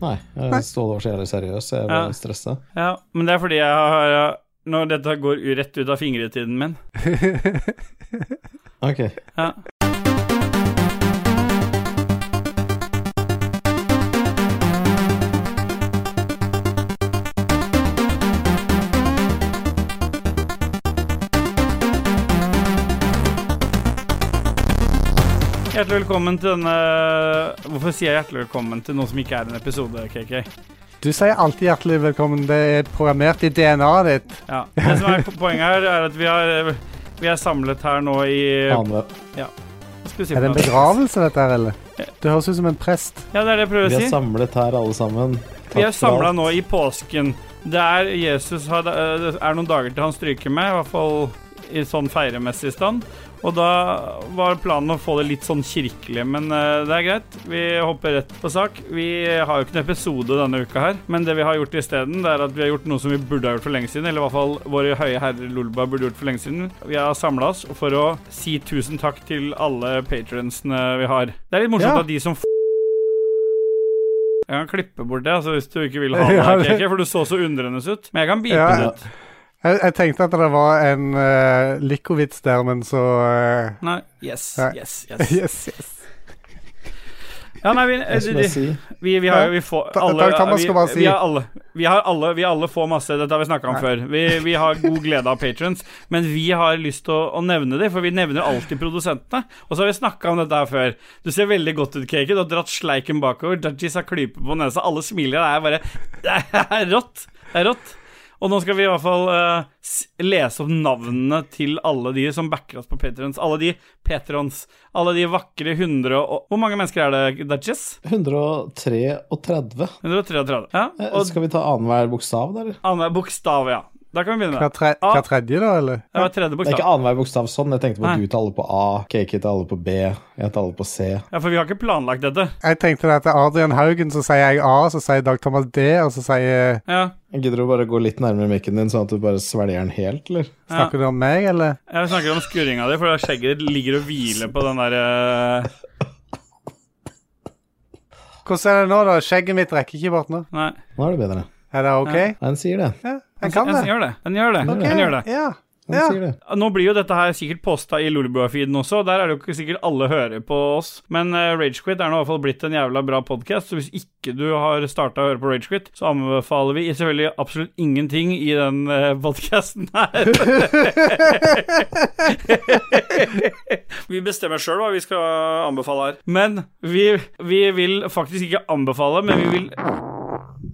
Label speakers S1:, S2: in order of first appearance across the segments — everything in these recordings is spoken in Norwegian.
S1: Nei, jeg står og ser det seriøst. Jeg er
S2: Ja.
S1: bare stressa.
S2: Ja, men det er fordi jeg har Når dette går u- rett ut av fingretiden min.
S1: Ok.
S2: Ja. Hjertelig velkommen til denne Hvorfor sier jeg hjertelig velkommen til noe som ikke er en episode, KK?
S3: Du sier alltid hjertelig velkommen. Det er programmert i DNA-et ditt.
S2: Ja. Det som er poenget her, er at vi har vi er samlet her nå i
S1: Aner.
S2: Skal vi si
S3: Er det en
S2: på-
S3: begravelse, dette her, eller? Det høres ut som en prest.
S2: Ja, det er det jeg prøver
S1: Vi
S2: å
S1: er
S2: si.
S1: samlet her, alle sammen.
S2: Vi er
S1: Takk for
S2: samla
S1: alt.
S2: nå i påsken, der Jesus har, eh, det er noen dager til han stryker med, i hvert fall i sånn feiremessig stand. Og da var planen å få det litt sånn kirkelig, men eh, det er greit. Vi hopper rett på sak. Vi har jo ikke noen episode denne uka her, men det vi har gjort isteden, det er at vi har gjort noe som vi burde ha gjort for lenge siden, eller i hvert fall våre høye herrer Lolba burde gjort for lenge siden. Vi har samla oss for å si tusen takk til alle patronsene vi har. Det er litt morsomt
S3: Ja.
S2: at de som f jeg kan klippe bort det, altså, hvis du ikke vil ha det.
S3: Ja, det-
S2: Keke, for du så så undrende ut. Men jeg kan bite
S3: Ja.
S2: det ut.
S3: Jeg, jeg tenkte at det var en uh, Likowitz der, men så eh,
S2: Nei. Yes,
S3: Nei.
S2: yes, yes.
S3: Yes, yes.
S2: Ja, nei, vi, eh,
S1: Hva skal
S2: de,
S1: jeg si?
S2: vi, vi har jo Vi får
S3: Ta-
S2: alle
S3: Dag Thomas
S2: vi,
S3: skal bare si-
S2: vi, har alle, vi, har alle, vi alle får masse. Dette har vi snakka om før. Vi, vi har god glede av patrons, men vi har lyst til å, å nevne dem, for vi nevner alltid produsentene. Og så har vi snakka om dette her før. Du ser veldig godt ut, Kake. Du har dratt sleiken bakover. Dudgies har klype på nesa. Alle smiler. Det er bare Det er rått. Det er rått. Og nå skal vi i hvert fall eh, s- lese opp navnene til alle de som backer oss på Patrons. Alle de Patrons. Alle de vakre 100 og Hvor mange mennesker er det, Dutches?
S1: 133.
S2: 133. Ja,
S1: Eh,
S2: og
S1: Skal vi ta annenhver bokstav, da? eller?
S2: annenhver bokstav, ja. Da kan vi begynne.
S3: Hver, tre,
S2: Ah.
S3: hver tredje, da, eller?
S2: Det var tredje
S1: Det er ikke
S2: bokstav.
S1: annenhver bokstav sånn. Jeg tenkte på
S2: Nei.
S1: at du taler på A, Kake taler på B, jeg taler på C.
S2: Ja, for vi har ikke planlagt dette.
S3: Jeg tenkte det at det er Adrian Haugen, så sier jeg A, så sier Dag Thomas D, og så sier
S2: Ja,
S1: Jeg gidder du bare gå litt nærmere mikken din, sånn at du bare svelger den helt, eller?
S2: ja.
S3: Snakker du om meg, eller?
S2: Jeg snakker om skurringa di, for skjegget ditt ligger og hviler på den der eh,
S3: Hvordan er det nå, da? Skjegget mitt rekker ikke bort nå.
S2: Nei.
S1: Nå er det bedre.
S3: Er det OK?
S2: Ja.
S1: Nei, Den sier det.
S3: Ja, jeg kan det.
S2: Den gjør det. Den gjør det.
S3: Ok,
S2: Den gjør det.
S3: Ja.
S1: Den
S3: Ja.
S1: sier det.
S2: Nå blir jo dette her sikkert posta i Lolebua-feeden også, og der er det jo ikke sikkert alle hører på oss. Men eh, Ragequit er nå i hvert fall blitt en jævla bra podkast, så hvis ikke du har starta å høre på Ragequit, så anbefaler vi selvfølgelig absolutt ingenting i den uh, podkasten her. vi bestemmer sjøl hva vi skal anbefale her. Men vi, vi vil faktisk ikke anbefale, men vi vil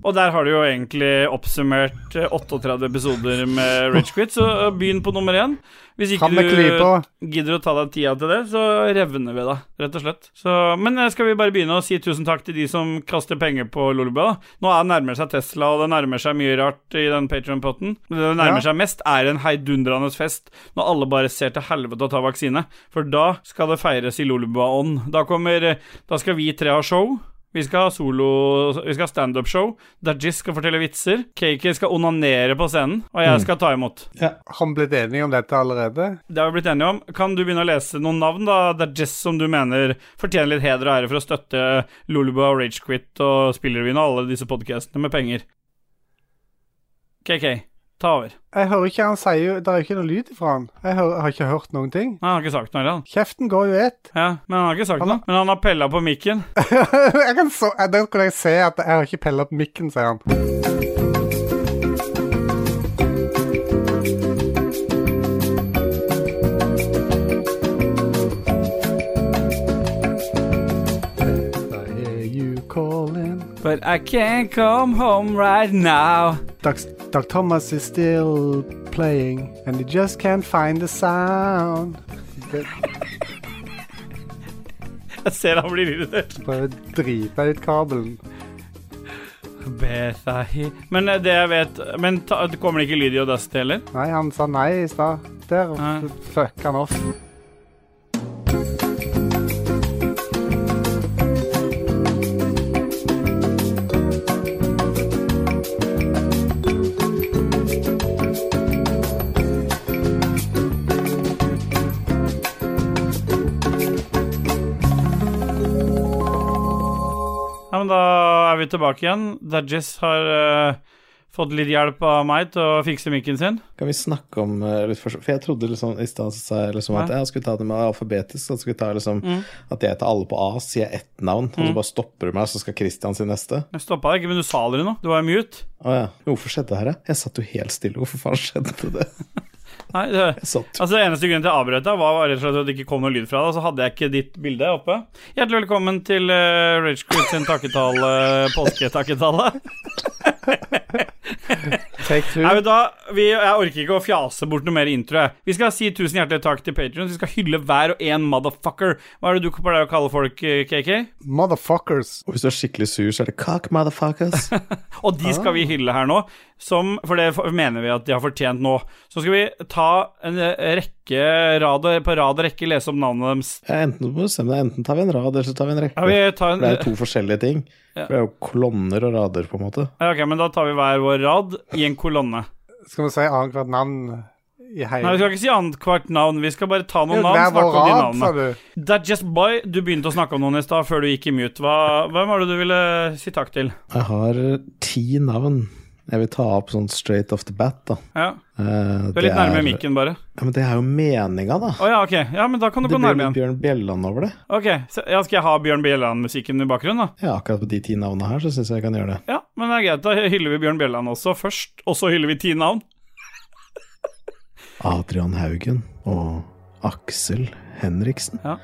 S2: og der har du jo egentlig oppsummert eh, 38 episoder med Rage Quit, så eh, begynn på nummer én. Hvis ikke
S3: Fram med
S2: du
S3: klypa.
S2: gidder å ta deg tida til det, så revner vi deg, rett og slett. Så, men eh, skal vi bare begynne å si tusen takk til de som kaster penger på Lolebua, da? Nå er, nærmer det seg Tesla, og det nærmer seg mye rart i den Patrion-potten. Det det nærmer
S3: Ja.
S2: seg mest, er en heidundrende fest når alle bare ser til helvete å ta vaksine. For da skal det feires i Lolebua-ånd. Da kommer eh, Da skal vi tre ha show. Vi skal ha solo Vi skal ha standup-show. Dajis skal fortelle vitser. Kaki skal onanere på scenen. Og jeg skal ta imot.
S3: Har vi blitt enige om dette allerede?
S2: Det har vi blitt enige om. Kan du begynne å lese noen navn, da, Dajis, som du mener fortjener litt heder og ære for å støtte Lulubua, Ragequit og Spillerevyen og alle disse podkastene med penger? KK, ta over.
S3: Jeg hører ikke han sier jo Det er jo ikke noe lyd ifra han. Jeg hører, har ikke hørt noen ting.
S2: Han har ikke sagt noe, eller han.
S3: Kjeften går jo i ett.
S2: Ja, men han har ikke sagt
S3: Han har-
S2: noe. Men han har pella på mikken.
S3: jeg kan så, eh, Da kunne jeg se at jeg har ikke pella opp mikken, sier han. I hear er you calling.
S2: But I can't come home right now.
S3: Doc, Doc Thomas is still playing, and he just can't find the sound. Det-
S2: Jeg ser han blir irritert.
S3: Prøver å drite ut kabelen.
S2: Bethahi Men eh, det jeg vet Men ta, det kommer det ikke lyd i Audacity heller?
S3: Nei, han sa nei i stad. Der
S2: Nei.
S3: f- fuck han off.
S2: Ja, men da er er vi tilbake igjen. Dajis har eh, fått litt hjelp av meg til å fikse mikken sin.
S1: Kan vi snakke om eh, litt forskjell? For jeg trodde liksom, i stad så sa jeg liksom at
S2: Ja.
S1: jeg skulle ta det med alfabetisk. Så skulle jeg ta liksom,
S2: Mm.
S1: At jeg heter alle på A, sier jeg ett navn, og så bare stopper du meg, så skal Christian si neste.
S2: Jeg stoppa deg ikke, men du sa aldri noe. Du var mute.
S1: Å ja. Men Hvorfor skjedde det her, da? Jeg satt jo helt stille. Hvorfor faen skjedde det?
S2: Nei, det,
S1: Jeg satt
S2: Altså, Eneste grunnen til jeg avbrøt deg, var rett og slett at det ikke kom noe lyd fra deg. og Så hadde jeg ikke ditt bilde oppe. Hjertelig velkommen til uh, Ragequit sin takketale, eh, påsketakketale.
S3: Take two.
S2: Nei, men da, vi, jeg orker ikke å fjase bort noe mer intro. jeg. Vi skal si tusen hjertelig takk til Patrions. Vi skal hylle hver og en motherfucker. Hva er det du pleier å kalle folk, eh, KK?
S3: Motherfuckers.
S1: Og hvis du er skikkelig sur, så er det cock motherfuckers.
S2: Og de skal vi hylle her nå, som, for det for- mener vi at de har fortjent nå. Så skal vi ta en eh, rekke rad, og- på rad og rekke lese opp navnet deres.
S1: Ja, enten må du bestemme deg, enten tar vi en rad, eller så tar vi en rekke.
S2: Ja, vi tar
S1: For det er
S2: en,
S1: jo to forskjellige ting.
S2: Ja.
S1: For det er jo kolonner og rader, på en måte.
S2: Ja, Ok, men da tar vi hver vår rad i en kolonne.
S3: Skal vi si annethvert navn i
S2: Nei, vi
S3: hele
S2: skal ikke si annethvert navn. Vi skal bare ta noen navn.
S3: Hver
S2: snakke
S3: vår
S2: om de
S3: rad, sa
S2: navnene.
S3: du.
S2: That Just Boy, du begynte å snakke om noen i stad før du gikk i mute. Hva, hvem var det du ville si takk til?
S1: Jeg har eh, ti navn. Jeg vil ta opp sånn straight off the bat, da.
S2: Ja,
S1: Eh,
S2: Du er litt nærme mikken, bare.
S1: Ja, men det er jo meninga, da.
S2: Å ja, ok. Ja, men da kan du
S1: Det
S2: gå
S1: blir
S2: nærme
S1: litt
S2: igjen.
S1: Bjørn Bjelland over det.
S2: Ok, så, ja, Skal jeg ha Bjørn Bjelland-musikken i bakgrunnen, da?
S1: Ja, akkurat på de ti navnene her, så syns jeg jeg kan gjøre det.
S2: Ja, men det er greit. Da hyller vi Bjørn Bjelland også først, og så hyller vi ti navn.
S1: Adrian Haugen og Aksel Henriksen.
S2: Ja.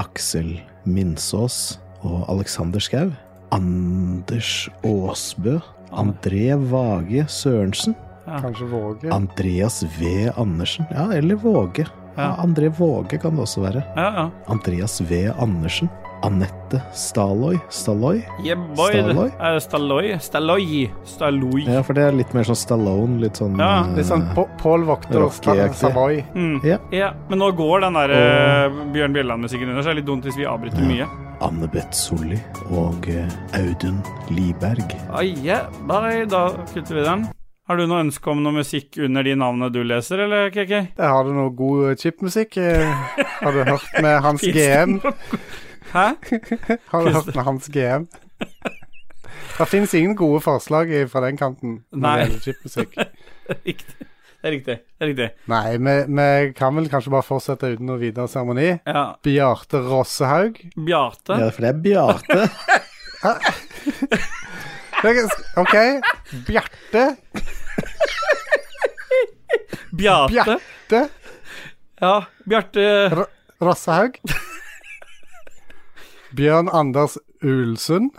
S1: Aksel Minsås og Alexander Skau. Anders Aasbø. André Vage Sørensen.
S3: Kanskje Våge.
S1: Andreas V. Andersen. Ja, eller Våge. Ja, André Våge kan det også være.
S2: Ja, ja.
S1: Andreas V. Andersen. Anette Staloy. Staloy?
S2: Yeah, boy.
S1: Stalloy?
S2: Eh, Stalloy? Stalloy. Stalloy.
S1: Ja, for det er litt mer sånn Stallone, litt sånn
S2: Ja,
S1: eh,
S3: Litt sånn På- Pål Vokter
S1: Rocky,
S3: Sta-
S1: egentlig.
S3: Savoy.
S2: Mm.
S1: Ja.
S2: Ja, men nå går den der eh, Bjørn Bjelland-musikken under, så det er litt dumt hvis vi avbryter mye.
S1: Anne-Beth Solli og eh, Audun Liberg.
S2: Ah, yeah, bye, da kutter vi den. Har du noe ønske om noe musikk under de navnene du leser, eller KK?
S3: Der har du noe god chipmusikk. eh, Har du hørt med Hans
S2: Finns det
S3: GM?
S2: Hæ?
S3: Har du hørt med Hans GM? Det fins ingen gode forslag i- fra den kanten når
S2: Nei.
S3: det gjelder chipmusikk.
S2: Riktig. Det er riktig. Det er riktig.
S3: Nei, vi, vi kan vel kanskje bare fortsette uten noe videre seremoni.
S2: Ja.
S3: Bjarte Rossehaug.
S2: Bjarte.
S1: Ja, for det er Bjarte.
S3: OK. Bjarte.
S2: Bjarte.
S3: Bjarte
S2: Ja. Bjarte
S3: R- Rossehaug. Bjørn Anders Ulsund.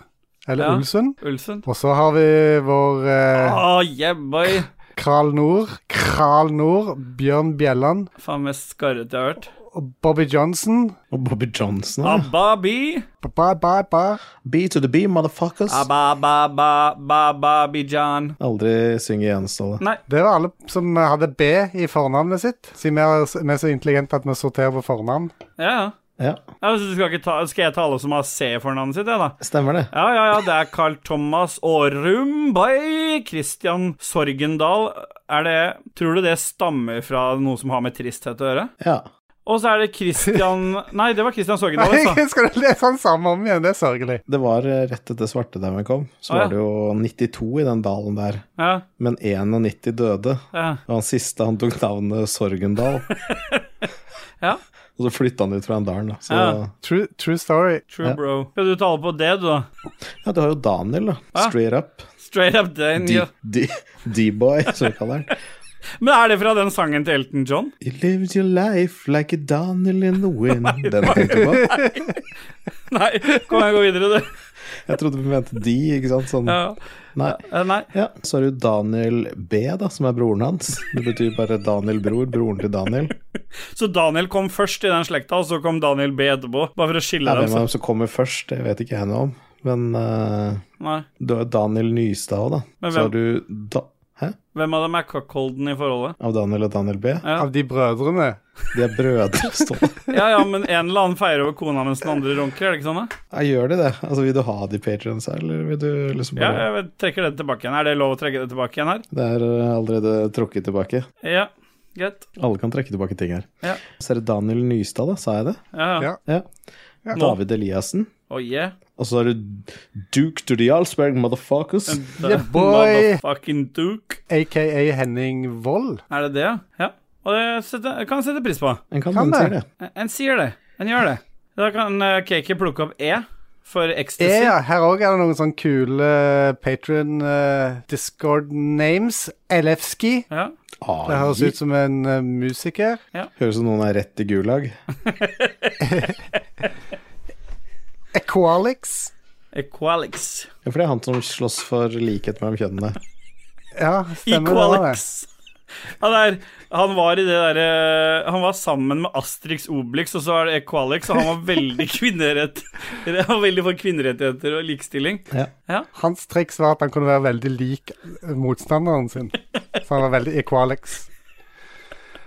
S3: Eller
S2: Ja.
S3: Ulsund.
S2: Ulsen.
S3: Og så har vi vår eh,
S2: Ah, yeah, boy.
S3: Kral Nord. Kral Nord. Bjørn Bjelland.
S2: Faen mest skarrete jeg har hørt.
S3: Og Bobby Johnson.
S1: Og Bobby Johnson. ja.
S2: Ababi.
S3: Ba, ba, ba.
S1: B to the B, motherfuckers.
S2: Ah, Ababababababijan.
S1: Aldri synge igjen, Ståle.
S2: Nei.
S3: Det var alle som hadde B i fornavnet sitt. Siden vi er, vi er så intelligente at vi sorterer på fornavn.
S2: Ja, ja.
S1: Ja,
S2: Ja, så du skal, ikke ta, skal jeg ta alle som har C for navnet sitt, jeg, da?
S1: stemmer det.
S2: Ja, ja, ja, det er Carl Thomas Aarum by Christian Sorgendal. Er det Tror du det stammer fra noe som har med tristhet å gjøre?
S1: Ja.
S2: Og så er det Christian Nei, det var Christian Sorgendal, altså.
S3: Nei, skal du lese den samme om igjen? Det er sørgelig.
S1: Det var eh, rett etter svartedaumen kom, så
S2: Å, ja.
S1: var det jo 92 i den dalen der.
S2: Ja,
S1: Men 91 døde.
S2: ja.
S1: Og han siste, han tok navnet Sorgendal.
S2: Ja.
S1: Og så flytta han ut fra den dalen, da. Så
S2: Ja.
S3: True, true story.
S2: True bro. Skal du ta alle på det, du, da?
S1: ja, du har jo Daniel, da.
S2: Ja.
S1: Straight up.
S2: Straight up den, ja.
S1: D- D- D-boy, som vi kaller han.
S2: Men er det fra den sangen til Elton John?
S1: You lived your life like a Daniel in the wind. Den tenkte jeg på.
S2: Nei, kom jeg gå videre, du.
S1: Jeg trodde vi mente de, ikke sant. Sånn.
S2: Ja.
S1: Nei.
S2: Eh, Nei.
S1: Ja, så er det jo Daniel B, da, som er broren hans. Det betyr bare Daniel bror, broren til Daniel.
S2: Så Daniel kom først i den slekta, og så kom Daniel B etterpå? Bare for å skille
S1: Ja, hvem
S2: dem?
S1: av
S2: Så.
S1: dem som kommer først, det vet ikke jeg noe om. Men eh,
S2: Nei.
S1: du har jo Daniel Nystad òg, da.
S2: Men
S1: Så
S2: hvem-
S1: har du da Hæ?
S2: Hvem av dem er cuckolden i forholdet?
S1: Av Daniel og Daniel B?
S2: Ja.
S3: Av de brødrene.
S1: De er brødre, står det.
S2: Ja, ja, men en eller annen feirer over kona mens den andre runker, er det ikke sånn? da?
S1: Ja, gjør de det? Altså, Vil du ha de patrions her, eller vil du liksom
S2: Ja,
S1: bare
S2: jeg trekker det tilbake igjen. Er det lov å trekke det tilbake igjen her?
S1: Det er eh, allerede trukket tilbake.
S2: Ja, greit.
S1: Alle kan trekke tilbake ting her.
S2: Ja.
S1: Så er det Daniel Nystad, da. Sa jeg det?
S2: Ja, ja.
S3: Ja.
S1: Ja. David Eliassen.
S2: Oh yeah.
S1: Og så har du Duke to the Jarlsberg, motherfuckers.
S2: The
S3: Yeah, boy.
S2: Motherfucking Duke.
S3: AKA Henning Wold.
S2: Er det det, ja? ja. Og det setter, jeg kan sette pris på.
S1: En kan, kan
S3: Kan det.
S1: det.
S2: En- En sier det. En gjør det. Da kan eh, Kiki plukke opp E for
S3: Ja,
S2: ecstasy.
S3: E, ja, her òg er det noen sånne kule patron discord names. Elefski.
S2: Ja.
S3: Det
S1: Ah,
S3: høres ut som en eh, musiker.
S1: Høres ut som noen er rett i gulag.
S3: Equalix.
S2: Equalix.
S1: Ja, for det er han som slåss for likhet mellom kjønnene.
S3: Ja, stemmer det. var det.
S2: Equalix. Han, er, han var i det derre Han var sammen med Astrix Obelix, og så er det Equalix, og han var veldig kvinnerett Han var veldig for kvinnerettigheter og likestilling.
S1: Ja.
S3: Hans triks var at han kunne være veldig lik motstanderen sin. Så han var veldig equalix.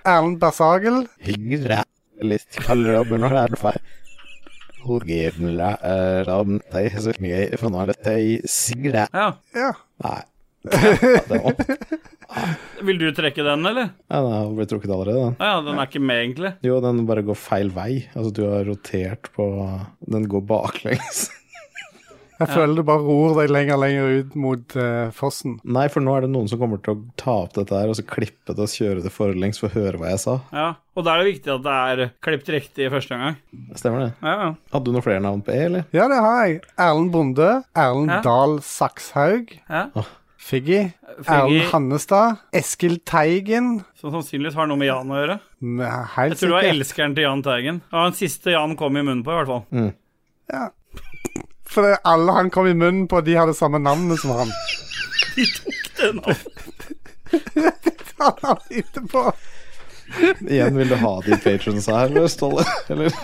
S3: Erlend Bersagel.
S1: Hyggelig litt kaldere opp når det er feil. Hodegivla er om deg, så mye jeg får nå er det deg, sigre.
S2: Ja.
S3: Ja.
S1: Nei. Ja, det var opp.
S2: Vil du trekke den, eller?
S1: Ja, den har blitt trukket allerede, den.
S2: Å ja, den er ikke med, egentlig.
S1: Jo, den bare går feil vei. Altså, du har rotert på Den går baklengs.
S3: Jeg føler du bare ror deg lenger og lenger ut mot eh, fossen.
S1: Nei, for nå er det noen som kommer til å ta opp dette her, og så klippe det og kjøre det forlengs for å høre hva jeg sa.
S2: Ja. Og da er det viktig at det er klippet riktig første gang.
S1: Stemmer det?
S2: Ja, ja.
S1: Hadde du noen flere navn på E, eller?
S3: Ja, det har jeg. Erlend Bonde. Erlend
S2: Ja.
S3: Dahl Sakshaug.
S2: ja.
S3: Figgy.
S2: Figgy.
S3: Erlend Hannestad. Eskil Teigen.
S2: Som sannsynligvis har noe med Jan å gjøre.
S3: Mm,
S2: Jeg
S3: Helt
S2: tror det var
S3: sikkert.
S2: elskeren til Jan Teigen. Det var den siste Jan kom i munnen på, i hvert fall.
S3: Mm. For det- alle han kom i munnen på, de hadde samme navnet som han.
S2: Den off.
S3: Han har lite på.
S1: Igjen, vil du ha de patrons her, eller, Ståle? Eller?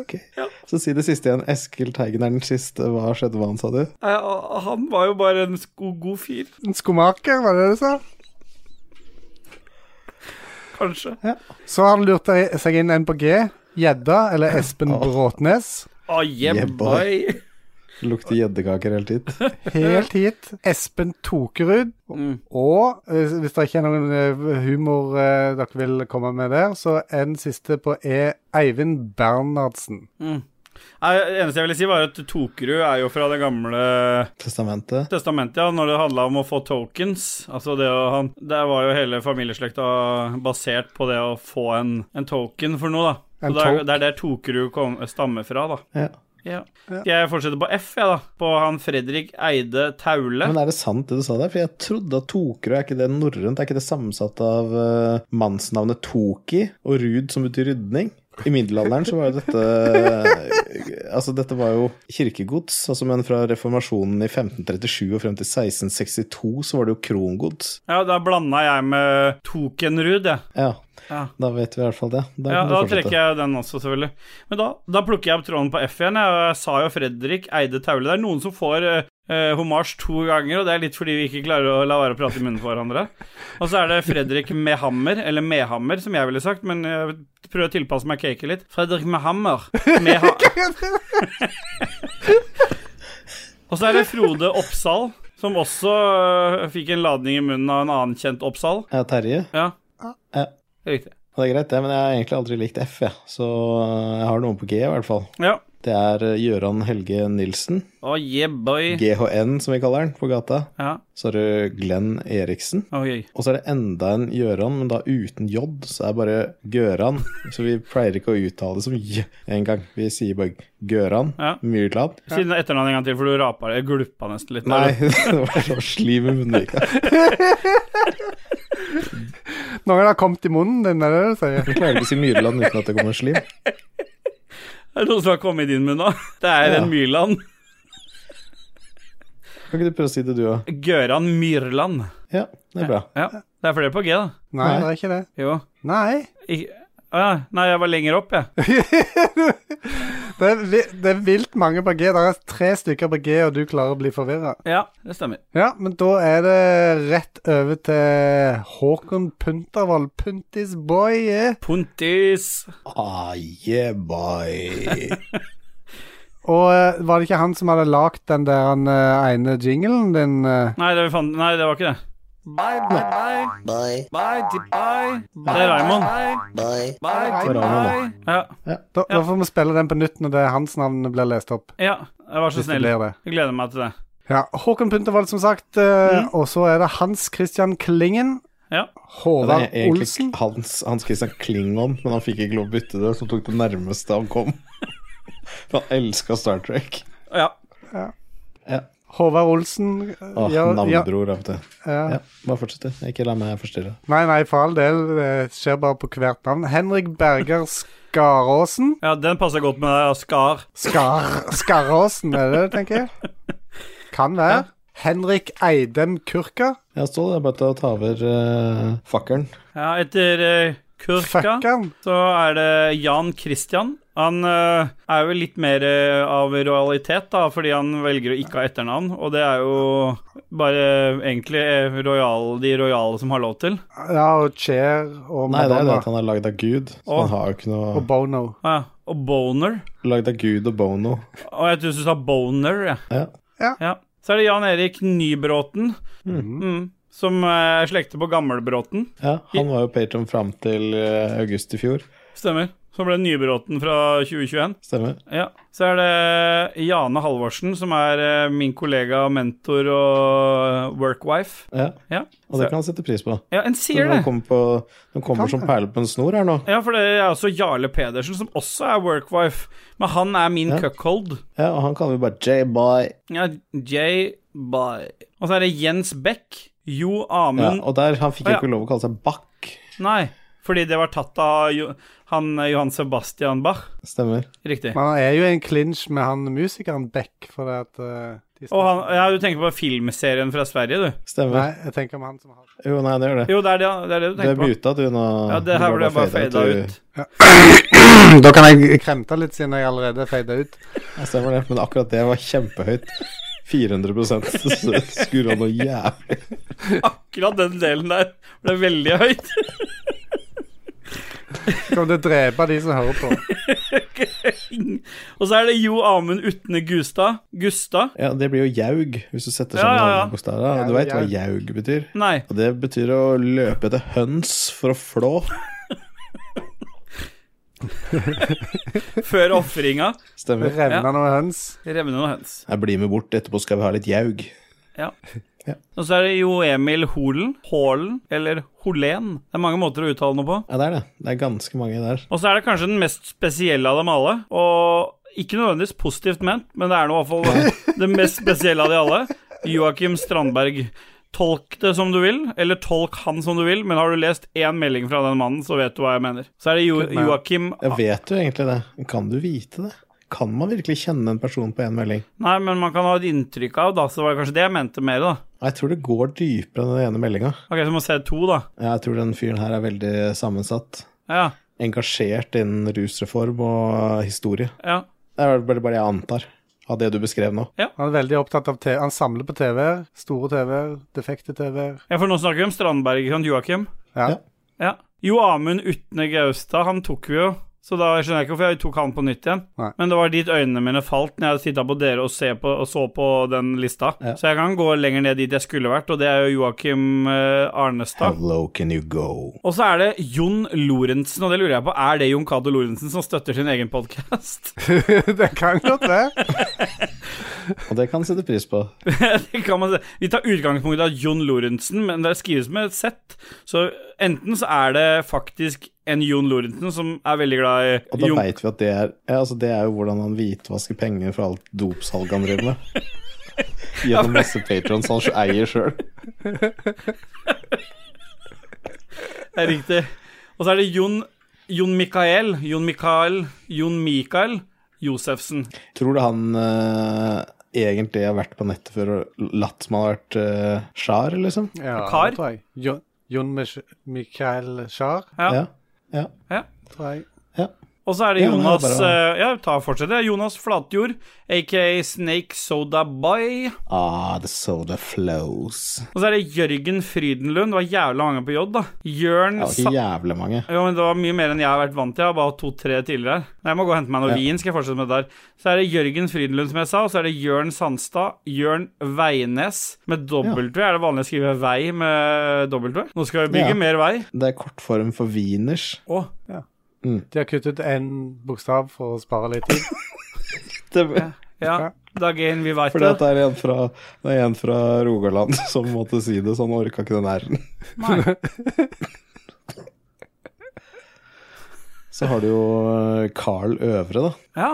S1: Ok. Så si det siste igjen. Eskil Teigen er den siste. Hva skjedde, hva han sa du?
S2: Nei, Han var jo bare en sko- god fyr,
S3: En skomaker, var det det du sa?
S2: kanskje.
S3: Så har han lurt deg- seg inn en på G. Gjedda, eller Espen Bråtnes.
S2: Oh, yeah,
S1: Yeah, boy.
S2: boy.
S1: Lukter gjeddekaker hele tiden.
S3: Helt hit. Espen Tokerud.
S2: Mm.
S3: Og eh, hvis det ikke er noen eh, humor eh, dere vil komme med der, så en siste på E. Eivind Bernhardsen.
S2: Nei, Det eneste jeg ville si, var at Tokerud er jo fra det gamle
S1: Testamentet.
S2: testamentet, ja, når det handla om å få tokens. Altså det å han Der var jo hele familieslekta basert på det å få en, en token for noe, da. Så
S3: En
S2: det, er,
S3: tok.
S2: det er der Tokerud kom, stammer fra, da.
S1: Ja.
S2: Ja. Skal jeg fortsette på F, jeg, da? På han Fredrik Eide Taule.
S1: Men er det sant det du sa der? For jeg trodde at Tokerud er ikke det norrønt? Er ikke det sammensatt av eh, mannsnavnet Toki og Rud, som betyr rydning? I middelalderen så var jo dette Altså, dette var jo kirkegods. Altså, men fra reformasjonen i 1537 og frem til 1662 så var det jo krongods.
S2: Ja, da blanda jeg med Tokenrud, jeg.
S1: Ja.
S2: Ja.
S1: Da vet vi i hvert fall det. Da
S2: Ja,
S1: kan du
S2: da
S1: fortsette.
S2: trekker jeg den også, selvfølgelig. Men da, da plukker jeg opp tråden på F igjen. Jeg, og jeg sa jo Fredrik Eide Taule. Det er noen som får uh, hommage to ganger, og det er litt fordi vi ikke klarer å la være å prate i munnen på hverandre. Og så er det Fredrik Mehammer, eller Mehammer, som jeg ville sagt, men jeg prøver å tilpasse meg cake litt. Fredrik Mehammer. Meha og så er det Frode Oppsal, som også eh, fikk en ladning i munnen av en annen kjent Oppsal.
S1: Ja, Terje.
S2: Ja,
S1: Ja.
S2: riktig.
S1: Det er greit, det, men jeg har egentlig aldri likt F, jeg. Så eh, jeg har noen på G, i hvert fall.
S2: Ja.
S1: Det er eh, Gøran Helge Nilsen.
S2: Oh, yeah, boy.
S1: GHN, som vi kaller den på gata.
S2: Ja.
S1: Så er det Glenn Eriksen.
S2: Oi.
S1: Og så er det enda en Gjøran, men da uten J, så er det bare Gøran. Så vi pleier ikke å uttale det som J en gang. Vi sier bare Gøran.
S2: Ja.
S1: Mye glad.
S2: Siden etternavnet en gang til, for du rapa det. Gluppa nesten litt.
S1: Nei, det var så slim i munnvika.
S3: Noen har kommet i munnen din, er det det du sier?
S1: Jeg klarer ikke å si Myrland uten at det kommer slim.
S2: Er det noen som har kommet i din munn nå? Det er
S1: Ja.
S2: en Myrland.
S1: Kan ikke du prøve å si det, du òg?
S2: Gøran Myrland.
S1: Ja, det er bra.
S2: Ja. Det er flere på G, da.
S3: Nei,
S1: Nei.
S3: det er ikke det.
S2: Jo.
S3: Nei.
S2: I, Å ja. Nei, jeg var lenger opp, jeg.
S3: Det er, vi, det er vilt mange på G. Det er tre stykker på G, og du klarer å bli forvirra.
S2: Ja, det stemmer.
S3: Ja, men da er det rett over til Håkon Puntervold. Puntis boy. eh.
S2: Pontis.
S1: Ah, yeah, boy.
S3: Og eh, var det ikke han som hadde lagd den der han, eh, ene jinglen din? eh?
S2: Nei det, var fan... Nei, det var ikke det. Bye, bye, bye.
S4: Bye.
S2: Bye, di- bye. Det er Raymond.
S4: Bye.
S1: Det
S2: Bye,
S1: er
S2: di-
S1: Raymond,
S2: bye. Ja,
S3: Da, da får vi spille den på nytt når det er hans navn blir lest opp.
S2: ja, jeg var så
S3: Hvis det
S2: snill.
S3: blir det.
S2: Jeg gleder meg til det.
S3: Ja, Håkon Puntervold, som sagt. eh, Og så er det Hans Christian Klingen.
S2: Ja.
S1: Ja, det
S3: Håvard
S1: er egentlig
S3: Olsen.
S1: Hans, Hans Christian Klingon, men han fikk ikke lov å bytte det, som tok det nærmeste han kom. For han elska Star Trek.
S2: Ja.
S3: Håvard Olsen. eh,
S1: Åh,
S3: ja, ja,
S1: navnebror av og til.
S3: ja.
S1: Ja, bare fortsett, du. Ikke la meg forstyrre.
S3: Nei, nei, for all del. Det skjer bare på hvert navn. Henrik Berger Skaråsen.
S2: ja, den passer godt med deg, Skar.
S3: Skar, Skaråsen, er det det, tenker jeg? Kan være. Henrik Eidem Kurka.
S1: Ja, Ståle, det er bare til å ta over eh, fakkelen.
S2: Ja, etter eh, Kurka
S3: Fuckeren.
S2: så er det Jan Christian. Han eh, er jo litt mer eh, av rojalitet, da, fordi han velger å ikke ha etternavn. Og det er jo bare eh, egentlig eh, royal, de rojale som har lov til.
S3: Ja, og Cher og
S1: Nei, det er jo det
S3: Madonna.
S1: at han er lagd av Gud. Så
S2: Åh.
S1: han har jo ikke
S3: Og
S1: noe
S3: Bono.
S2: Ja, og Boner.
S1: Lagd av Gud og Bono.
S2: Og jeg tror du sa Boner, ja.
S1: Ja.
S2: ja. Så er det Jan Erik Nybråten,
S3: Mhm.
S2: mm, som eh, slekter på Gammelbråten.
S1: ja, han var jo patron fram til eh, august i fjor.
S2: Stemmer. Så ble det Nybråten fra 2021.
S1: Stemmer.
S2: Ja. Så er det Jane Halvorsen, som er eh, min kollega, mentor og eh, workwife.
S1: Ja,
S2: Ja,
S1: Og det kan han sette pris på.
S2: ja en
S1: Så
S2: sier
S1: De
S2: det.
S1: kommer, på, de kommer som perler på en snor her nå.
S2: Ja, for det er også Jarle Pedersen, som også er workwife, men han er min
S1: Ja.
S2: cuckold.
S1: Ja, Og han kaller vi bare J-Boy.
S2: Ja, J. Bye. Og så er det Jens Beck. Jo
S1: Ja,
S2: Amund
S1: og der, han fikk jo
S2: Å, Mm. ja.
S1: ikke lov å kalle seg Bach.
S2: Nei, fordi det var tatt av jo, han eh, Johan Sebastian Bach.
S1: Stemmer.
S2: Riktig.
S3: Men han er jo i en clinch med han musikeren Beck, for det at eh, de
S2: Og han, ja, du tenker på filmserien fra Sverige, du.
S1: Stemmer.
S3: Nei, jeg tenker om han som har
S1: Jo, nei, det gjør det.
S2: Jo, det er det, det, er det du
S1: Du er
S2: tenker på.
S1: muta, du, nå.
S2: Ja,
S1: Du
S2: det her ble jeg bare fada
S1: du.
S2: ut.
S3: Da kan jeg kremte litt, siden jeg allerede feida ut.
S1: Ja, stemmer det. Men akkurat det var kjempehøyt. 400 skurra noe jævlig.
S2: Akkurat den delen der ble veldig høyt.
S3: Skal det drepe de som hører på?
S2: Og så er det Jo Amund Utne Gustad. Gustad?
S1: Ja, det blir jo jaug, hvis du setter sånn
S2: Ja,
S1: sammen
S2: ja,
S1: alle
S2: ja.
S1: bokstavene. Og Du
S3: Jaug,
S1: veit hva jaug betyr?
S2: Nei.
S1: Og det betyr å løpe etter høns for å flå.
S2: Før ofringa.
S1: Stemmer.
S3: Revna noen høns.
S2: Revne og høns.
S1: Jeg blir med bort, etterpå skal vi ha litt jaug.
S2: Og så er det Jo Emil Holen. Hålen, eller Holen. Det er mange måter å uttale noe på.
S1: Ja, det er det. Det er ganske mange der.
S2: Og så er det kanskje den mest spesielle av dem alle. Og ikke nødvendigvis positivt ment, men det er nå i hvert fall det mest spesielle av de alle. Joakim Strandberg. Tolk det som du vil, eller tolk han som du vil, men har du lest én melding fra den mannen, så vet du hva jeg mener. Så er det jo
S3: Good man.
S2: Joakim
S1: Jeg vet jo egentlig det. Kan du vite det? Kan man virkelig kjenne en person på én melding?
S2: Nei, men man kan ha et inntrykk av, da, så var det kanskje det jeg mente mer, da.
S1: Jeg tror det går dypere enn den ene meldinga.
S2: Ok, så må jeg se to, da.
S1: Jeg tror den fyren her er veldig sammensatt.
S2: Ja,
S1: Engasjert innen rusreform og historie.
S2: ja.
S1: Det er bare, bare jeg antar av det du beskrev nå.
S3: Han er veldig opptatt av TV. Han samler på TV-er. Store TV-er, defekte TV-er.
S2: Ja, for nå snakker vi om Strandberg, ikke sant, Joakim?
S3: Ja.
S1: Ja.
S2: Ja. Jo Amund Utne Gaustad, han tok vi jo, så da skjønner jeg ikke hvorfor jeg tok han på nytt igjen.
S3: Nei.
S2: Men det var dit øynene mine falt når jeg titta på dere og, se på, og så på den lista.
S1: Ja.
S2: Så jeg kan gå lenger ned dit jeg skulle vært, og det er jo Joakim eh, Arnestad.
S1: How low can you go?
S2: Og så er det Jon Lorentzen, og det lurer jeg på, er det Jon Cato Lorentzen som støtter sin egen podkast?
S3: det kan godt det.
S1: Og det kan jeg sette pris på.
S2: Det kan man si. Vi tar utgangspunkt av Jon Lorentzen, men det skrives med et Z. Så enten så er det faktisk en Jon Lorentzen som er veldig glad i
S1: Og da
S2: Jon-
S1: veit vi at det er ja, altså Det er jo hvordan han hvitvasker penger fra alt dopsalget han driver med. Gjennom masse patrons han eier sjøl.
S2: Det er riktig. Og så er det Jon Jon Mikael, Jon Mikael, Jon Mikael Josefsen.
S1: Tror du han eh, egentlig har vært på nettet før og latt som han har vært eh, sjar, liksom?
S3: Ja,
S2: Kar?
S3: det tror jeg. Jo- Jon Mich- Michael Schar,
S2: Ja.
S1: Ja. ja.
S3: tror jeg.
S1: Ja.
S2: Og så er det
S1: Ja, men det er
S2: Jonas
S1: bare-
S2: eh, Ja, ta fortsett. det. Jonas Flatjord, aka Snake Soda Boy.
S1: Ah, the soda flows.
S2: Og så er det Jørgen Frydenlund. Det var jævla mange på J, da. Jørn
S1: Det var
S2: Sa...
S1: ikke jævlig mange.
S2: Jo, men Det var mye mer enn jeg har vært vant til. Jeg har bare hatt to-tre tidligere. Jeg må gå og hente meg noe
S1: Ja.
S2: vin. skal jeg fortsette med det der. Så er det Jørgen Frydenlund, som jeg sa, og så er det Jørn Sandstad. Jørn Veines med dobbelt V. Er det vanlig å skrive vei med dobbelt V? Nå skal vi bygge
S1: Ja.
S2: mer vei.
S1: Det er kortform for wieners.
S2: Å,
S3: De har kuttet en bokstav for å spare litt tid.
S1: Det,
S2: ja.
S3: Ja.
S2: Dagen vi veit
S1: fordi
S2: det.
S1: at det er en fra, det er en fra Rogaland som måtte si det, så han orka ikke den r-en.
S2: Nei.
S1: Så har du jo eh, Carl Øvre, da.
S2: Ja.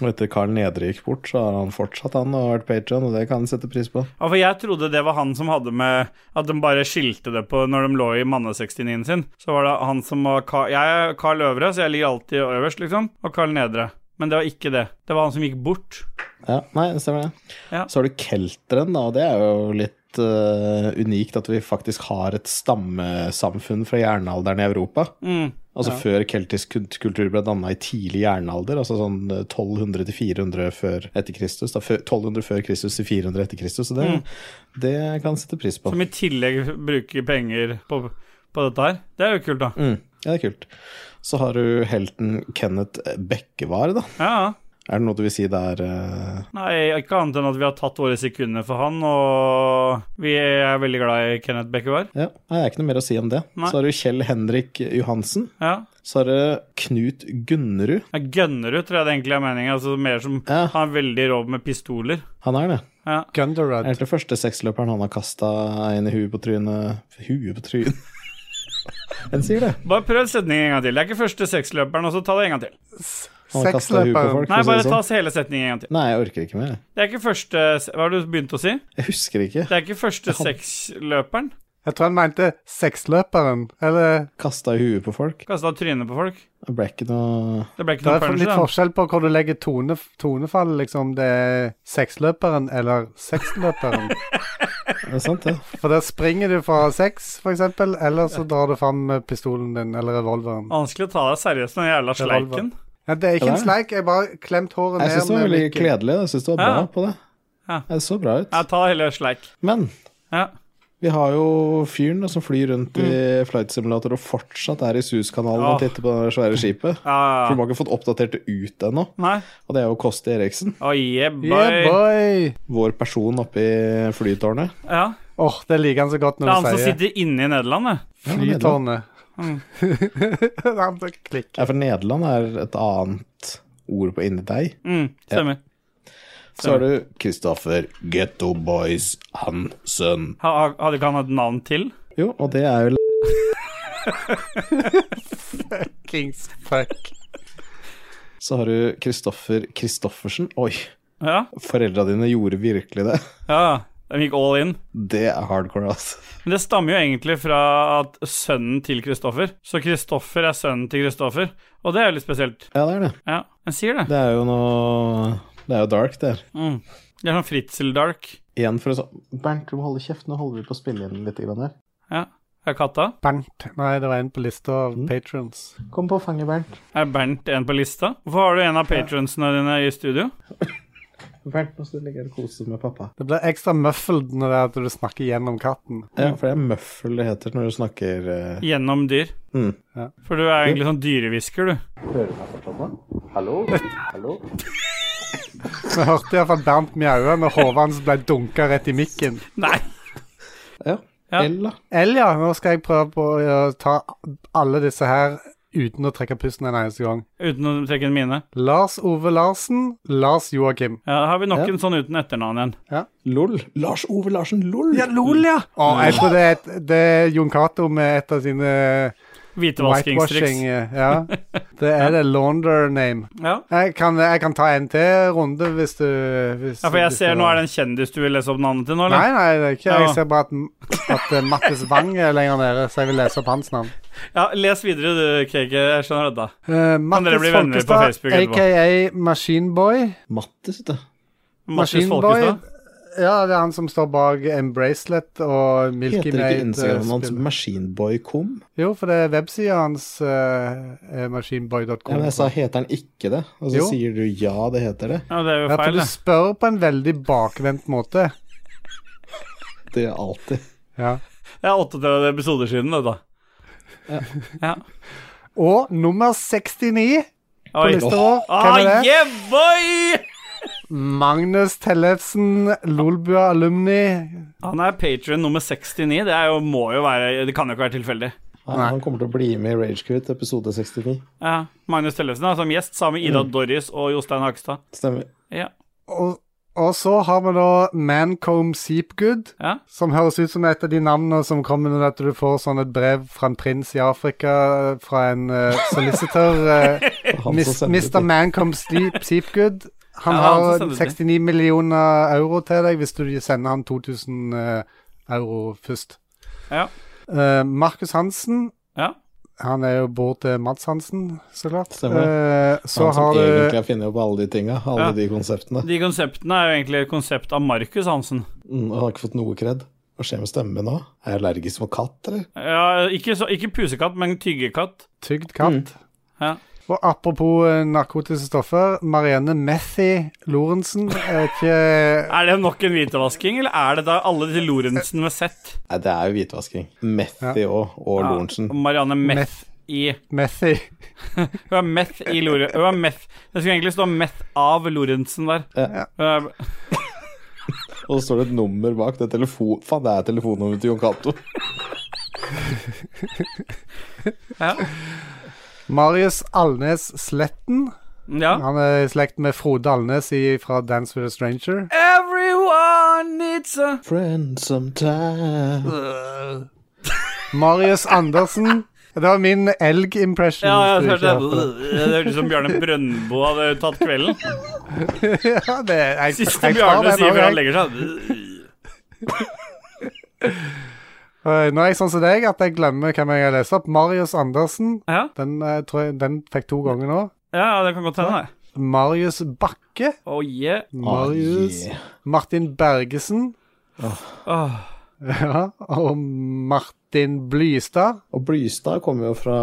S1: Og etter Carl Nedre gikk bort, så har han fortsatt han og vært patron, og det kan han sette pris på.
S2: Ja, for jeg trodde det var han som hadde med At de bare skilte det på når de lå i manne-69-en sin. Så var det han som var Ka- Jeg er Carl Øvre, så jeg ligger alltid øverst, liksom. Og Carl Nedre. Men det var ikke det. Det var han som gikk bort.
S1: Ja, nei, det stemmer det.
S2: Ja.
S1: Så har du kelteren, da, og det er jo litt eh, unikt at vi faktisk har et stammesamfunn fra jernalderen i Europa.
S2: Mm.
S1: Altså før keltisk kult- kultur ble danna i tidlig jernalder, altså sånn eh, 1200 til 400 før etter Kristus. Da, før, 1200 før Kristus til 400 etter Kristus, så det,
S2: Mm.
S1: det kan jeg sette pris på.
S2: Som i tillegg bruker penger på, på dette her. Det er jo kult, da.
S1: Mm, ja, det er kult. Så har du helten Kenneth Bekkevar, da.
S2: Ja, ja.
S1: Er det noe du vil si der? eh,
S2: Nei, ikke annet enn at vi har tatt våre sekunder for han, og vi er veldig glad i Kenneth Bekkevar.
S1: Ja, nei, det er ikke noe mer å si om det.
S2: Nei.
S1: Så har du Kjell Henrik Johansen.
S2: Ja.
S1: Så har du Knut Gunnerud.
S2: Jeg gønner ut, tror jeg det egentlig er meningen. Altså mer som
S1: Ja.
S2: Han er veldig rå med pistoler.
S1: Han er det.
S2: Ja.
S1: Det
S3: Gunderud.
S1: er den første sexløperen han har kasta en i huet på trynet Huet på trynet En sier det.
S2: Bare prøv setningen en gang til. Det er ikke første sexløperen, og så ta det en gang til.
S1: Han har kastet huet på
S3: Sexløperen.
S1: folk.
S2: Nei,
S1: for å si
S2: bare
S1: det
S2: ta
S1: sånn.
S2: hele setningen en gang til.
S1: Nei, jeg orker ikke mer. jeg.
S2: Det er ikke første Hva har du begynt å si?
S1: Jeg husker ikke.
S2: Det er ikke første sexløperen.
S3: Jeg tror han mente sexløperen. Eller
S1: Kasta i huet på folk.
S2: Kasta trynet på folk.
S1: Det ble ikke noe
S2: Det ble ikke
S3: Det
S2: noe
S3: er for- litt
S2: punch, da.
S3: forskjell på hvor du legger tone, tonefall, liksom. Det er sexløperen eller sexløperen.
S1: Det er sant, det.
S3: For der springer du fra sex, for eksempel, eller så drar du fram med pistolen din eller revolveren.
S2: Vanskelig å ta deg seriøst når jævla
S3: Revolver.
S2: sleiken.
S3: Ja, det er ikke
S1: Ja,
S3: en
S1: det er.
S3: sleik, jeg har bare klemt håret
S1: Jeg
S3: ned.
S1: syns det var
S3: med
S1: veldig
S3: mikken.
S1: kledelig. Jeg syns det var
S2: Ja.
S1: bra på det.
S2: Ja.
S1: Det så bra ut.
S2: Ja, ta hele sleik.
S1: Men
S2: Ja.
S1: vi har jo fyren da, som flyr rundt i
S2: Mm.
S1: flight simulator og fortsatt er i Suskanalen
S2: Ja.
S1: og titter på det svære skipet.
S2: ja.
S1: For de har ikke fått oppdatert det ut ennå.
S2: Nei.
S1: Og det er jo Kosti Eriksen,
S2: Å, yeah,
S3: Yeah,
S2: boy.
S3: boy!
S1: vår person oppe i flytårnet.
S2: Ja.
S3: Åh, det liker han så godt
S2: Det er
S3: når
S2: han
S3: du
S2: som
S3: sier
S2: sitter inne i Nederland, det.
S3: flytårnet.
S2: Mm.
S3: Det er han som klikker.
S1: Ja, for Nederland er et annet ord på inni deg.
S2: Mm, stemmer.
S1: Så har du Kristoffer Getto Boys Hansen.
S2: Ha, ha, hadde ikke han et navn til?
S1: Jo, og det er jo l-
S3: Kings fuck.
S1: Så har du Kristoffer Kristoffersen. Oi,
S2: Ja.
S1: foreldra dine gjorde virkelig det.
S2: ja. De gikk all in.
S1: Det er hardcore, altså.
S2: Men det stammer jo egentlig fra at sønnen til Kristoffer. Så Kristoffer er sønnen til Kristoffer, og det er jo litt spesielt.
S1: Ja, det er det.
S2: Ja, jeg sier det.
S1: Det er jo noe Det er jo dark, det her.
S2: Mm. Det er sånn fritzel-dark.
S1: Igjen for å sånn Bernt, du må holde kjeft. Nå holder vi på å spille inn litt grann her.
S2: Ja. Er det katta?
S3: Bernt. Nei, det var en på lista av
S1: Mm.
S3: patrons.
S1: Kom på fanget, Bernt.
S2: Er Bernt en på lista? Hvorfor har du en av patronsene dine i studio?
S1: Bernt, nå skal du ligge her og kose deg med pappa.
S3: Det blir ekstra muffled når det er at du snakker gjennom katten.
S1: Ja, for det er muffel det heter når du snakker eh,
S2: Gjennom dyr.
S1: mm.
S2: For du er egentlig sånn dyrehvisker, du.
S1: Hører du meg fortsatt nå? Hallo? Hallo?
S3: Vi hørte iallfall Bernt mjaue når hodet hans ble dunka rett i mikken.
S2: Nei!
S1: Ja.
S2: Ja.
S1: L, da.
S3: Eller ja, nå skal jeg prøve på å ta alle disse her uten å trekke pusten en eneste gang.
S2: Uten å trekke en mine.
S3: Lars Ove Larsen, Lars Joakim.
S2: Ja, da har vi nok
S1: Ja.
S2: en sånn uten etternavn igjen.
S1: LOL. Lars Ove Larsen, LOL.
S3: lol, ja! Å, jeg tror det er, et, det er Jon Cato med et av sine whitewashing
S2: Hvitevaskingstriks.
S3: Ja. Det er det launder name.
S2: Ja.
S3: Jeg kan, jeg kan ta en til runde hvis du hvis,
S2: ja, for jeg ser nå er det en kjendis du vil lese opp navnet til nå,
S3: Nei,
S2: eller?
S3: nei, det er ikke
S2: Ja.
S3: Jeg ser bare at, at eh, Mattis Wang er lenger nede, så jeg vil lese opp hans navn. Eh,
S2: Ja, les videre du, KK. Jeg skjønner dette.
S3: Uh, Mattis
S2: dere bli venner på
S3: Folkestad,
S2: Facebook etterpå?
S3: aka Machineboy.
S1: Mattis, vet du.
S2: Mattis
S3: Maskinboy
S2: Folkestad.
S3: Ja, det er han som står bak Embracelet og Milky
S1: Heter ikke
S3: Made,
S1: Instagram
S3: eh,
S1: hans
S3: spill.
S1: Maskinboy.com?
S3: Jo, for det er websida hans, eh,
S1: Ja,
S3: machineboy.com.
S1: men jeg sa heter den ikke det, og så
S3: Jo.
S1: sier du ja, det heter det.
S2: Ja, det er jo
S3: Ja, for
S2: feil,
S3: du
S2: det.
S3: spør på en veldig bakvendt måte.
S1: Det gjør jeg alltid.
S3: Ja.
S2: Det er 38 episoder siden, det, da. Ja.
S3: Og nummer 69 på
S2: Oi.
S3: lista vår,
S2: Ah,
S3: hvem er det?
S2: yeah, boy!
S3: Magnus Tellefsen, Lolbua Alumni.
S2: Han er patron nummer 69. Det, er jo, må jo være, det kan jo ikke være tilfeldig.
S1: Nei, Han kommer til å bli med i Ragequit episode 69.
S2: Ja. Magnus Tellefsen er som gjest sammen med Ida
S3: Mm.
S2: Dorris og Jostein Hakstad.
S1: Stemmer.
S2: Ja.
S3: Og, og så har vi da Mancombe Seepgood,
S2: Ja.
S3: som høres ut som et av de navnene som kommer når at du får sånn et brev fra en prins i Afrika, fra en eh, solicitor. eh,
S1: Han som
S3: Mis,
S1: sender det
S3: Mr.
S1: til-
S3: Mancombe Steep- Seepgood. Han
S2: Ja, han som
S3: har
S2: sender det til.
S3: 69 millioner euro til deg hvis du sender han 2000 eh, euro først.
S2: Ja.
S3: Eh, Markus Hansen
S2: ja.
S3: Han er jo bror til Mads Hansen, så klart.
S1: Stemmer
S3: Eh, så
S1: han som
S3: har
S1: egentlig
S3: du
S1: har funnet opp alle de tinga, alle
S2: Ja.
S1: de konseptene.
S2: De konseptene er jo egentlig et konsept av Markus Hansen.
S1: Mm, og han har ikke fått noe kred. Hva skjer med stemmen nå? Er jeg allergisk mot katt, eller?
S2: Ja, ikke, så, ikke pusekatt, men tyggekatt.
S3: Tygd
S1: Mm.
S3: katt.
S2: Ja.
S3: Og apropos eh, narkotiske stoffer, Marianne Methy Lorentzen er ikke
S2: Er det nok en hvitevasking, eller er det da alle disse Lorentzen med Z?
S1: Nei, det er jo hvitvasking. Methy òg, og Lorentzen.
S2: Ja, og Marianne Meth
S3: Meth.
S2: i
S3: Methy.
S2: Hun er Meth i Lorentzen. Hun er Meth Det skulle egentlig stå Meth av Lorentzen der.
S1: Ja.
S2: Hun er-
S1: Og så står det et nummer bak. Det er telefon... Faen, det er telefonnummeret til Jon Cato.
S2: Ja.
S3: Marius Alnes Sletten.
S2: ja.
S3: Han er i slekt med Frode Alnes i, fra Dance with a Stranger.
S2: Everyone needs a
S1: Friend sometime
S3: Marius Andersen. Det var min elg-impression.
S2: Ja,
S3: hvis
S2: jeg
S3: du
S2: hørte
S3: ikke hørte
S2: det. Det hørtes ut som Bjarne Brøndbo hadde tatt kvelden.
S3: det. ja, det er, jeg,
S2: Siste
S3: jeg tar
S2: Bjarne
S3: den
S2: sier
S3: også,
S2: før han
S3: jeg.
S2: legger seg.
S3: Eh, Nå er jeg sånn som deg at jeg glemmer hvem jeg har lest opp. Marius Andersen.
S2: Ja,
S3: Den, eh, tror jeg, den fikk to ganger nå.
S2: ja det kan godt hende, det.
S3: Marius Bakke.
S2: Oh, yeah.
S3: Marius
S1: yeah.
S3: Martin Bergesen.
S2: Åh.
S3: Ja, og Martin Blystad.
S1: Og Blystad kommer jo fra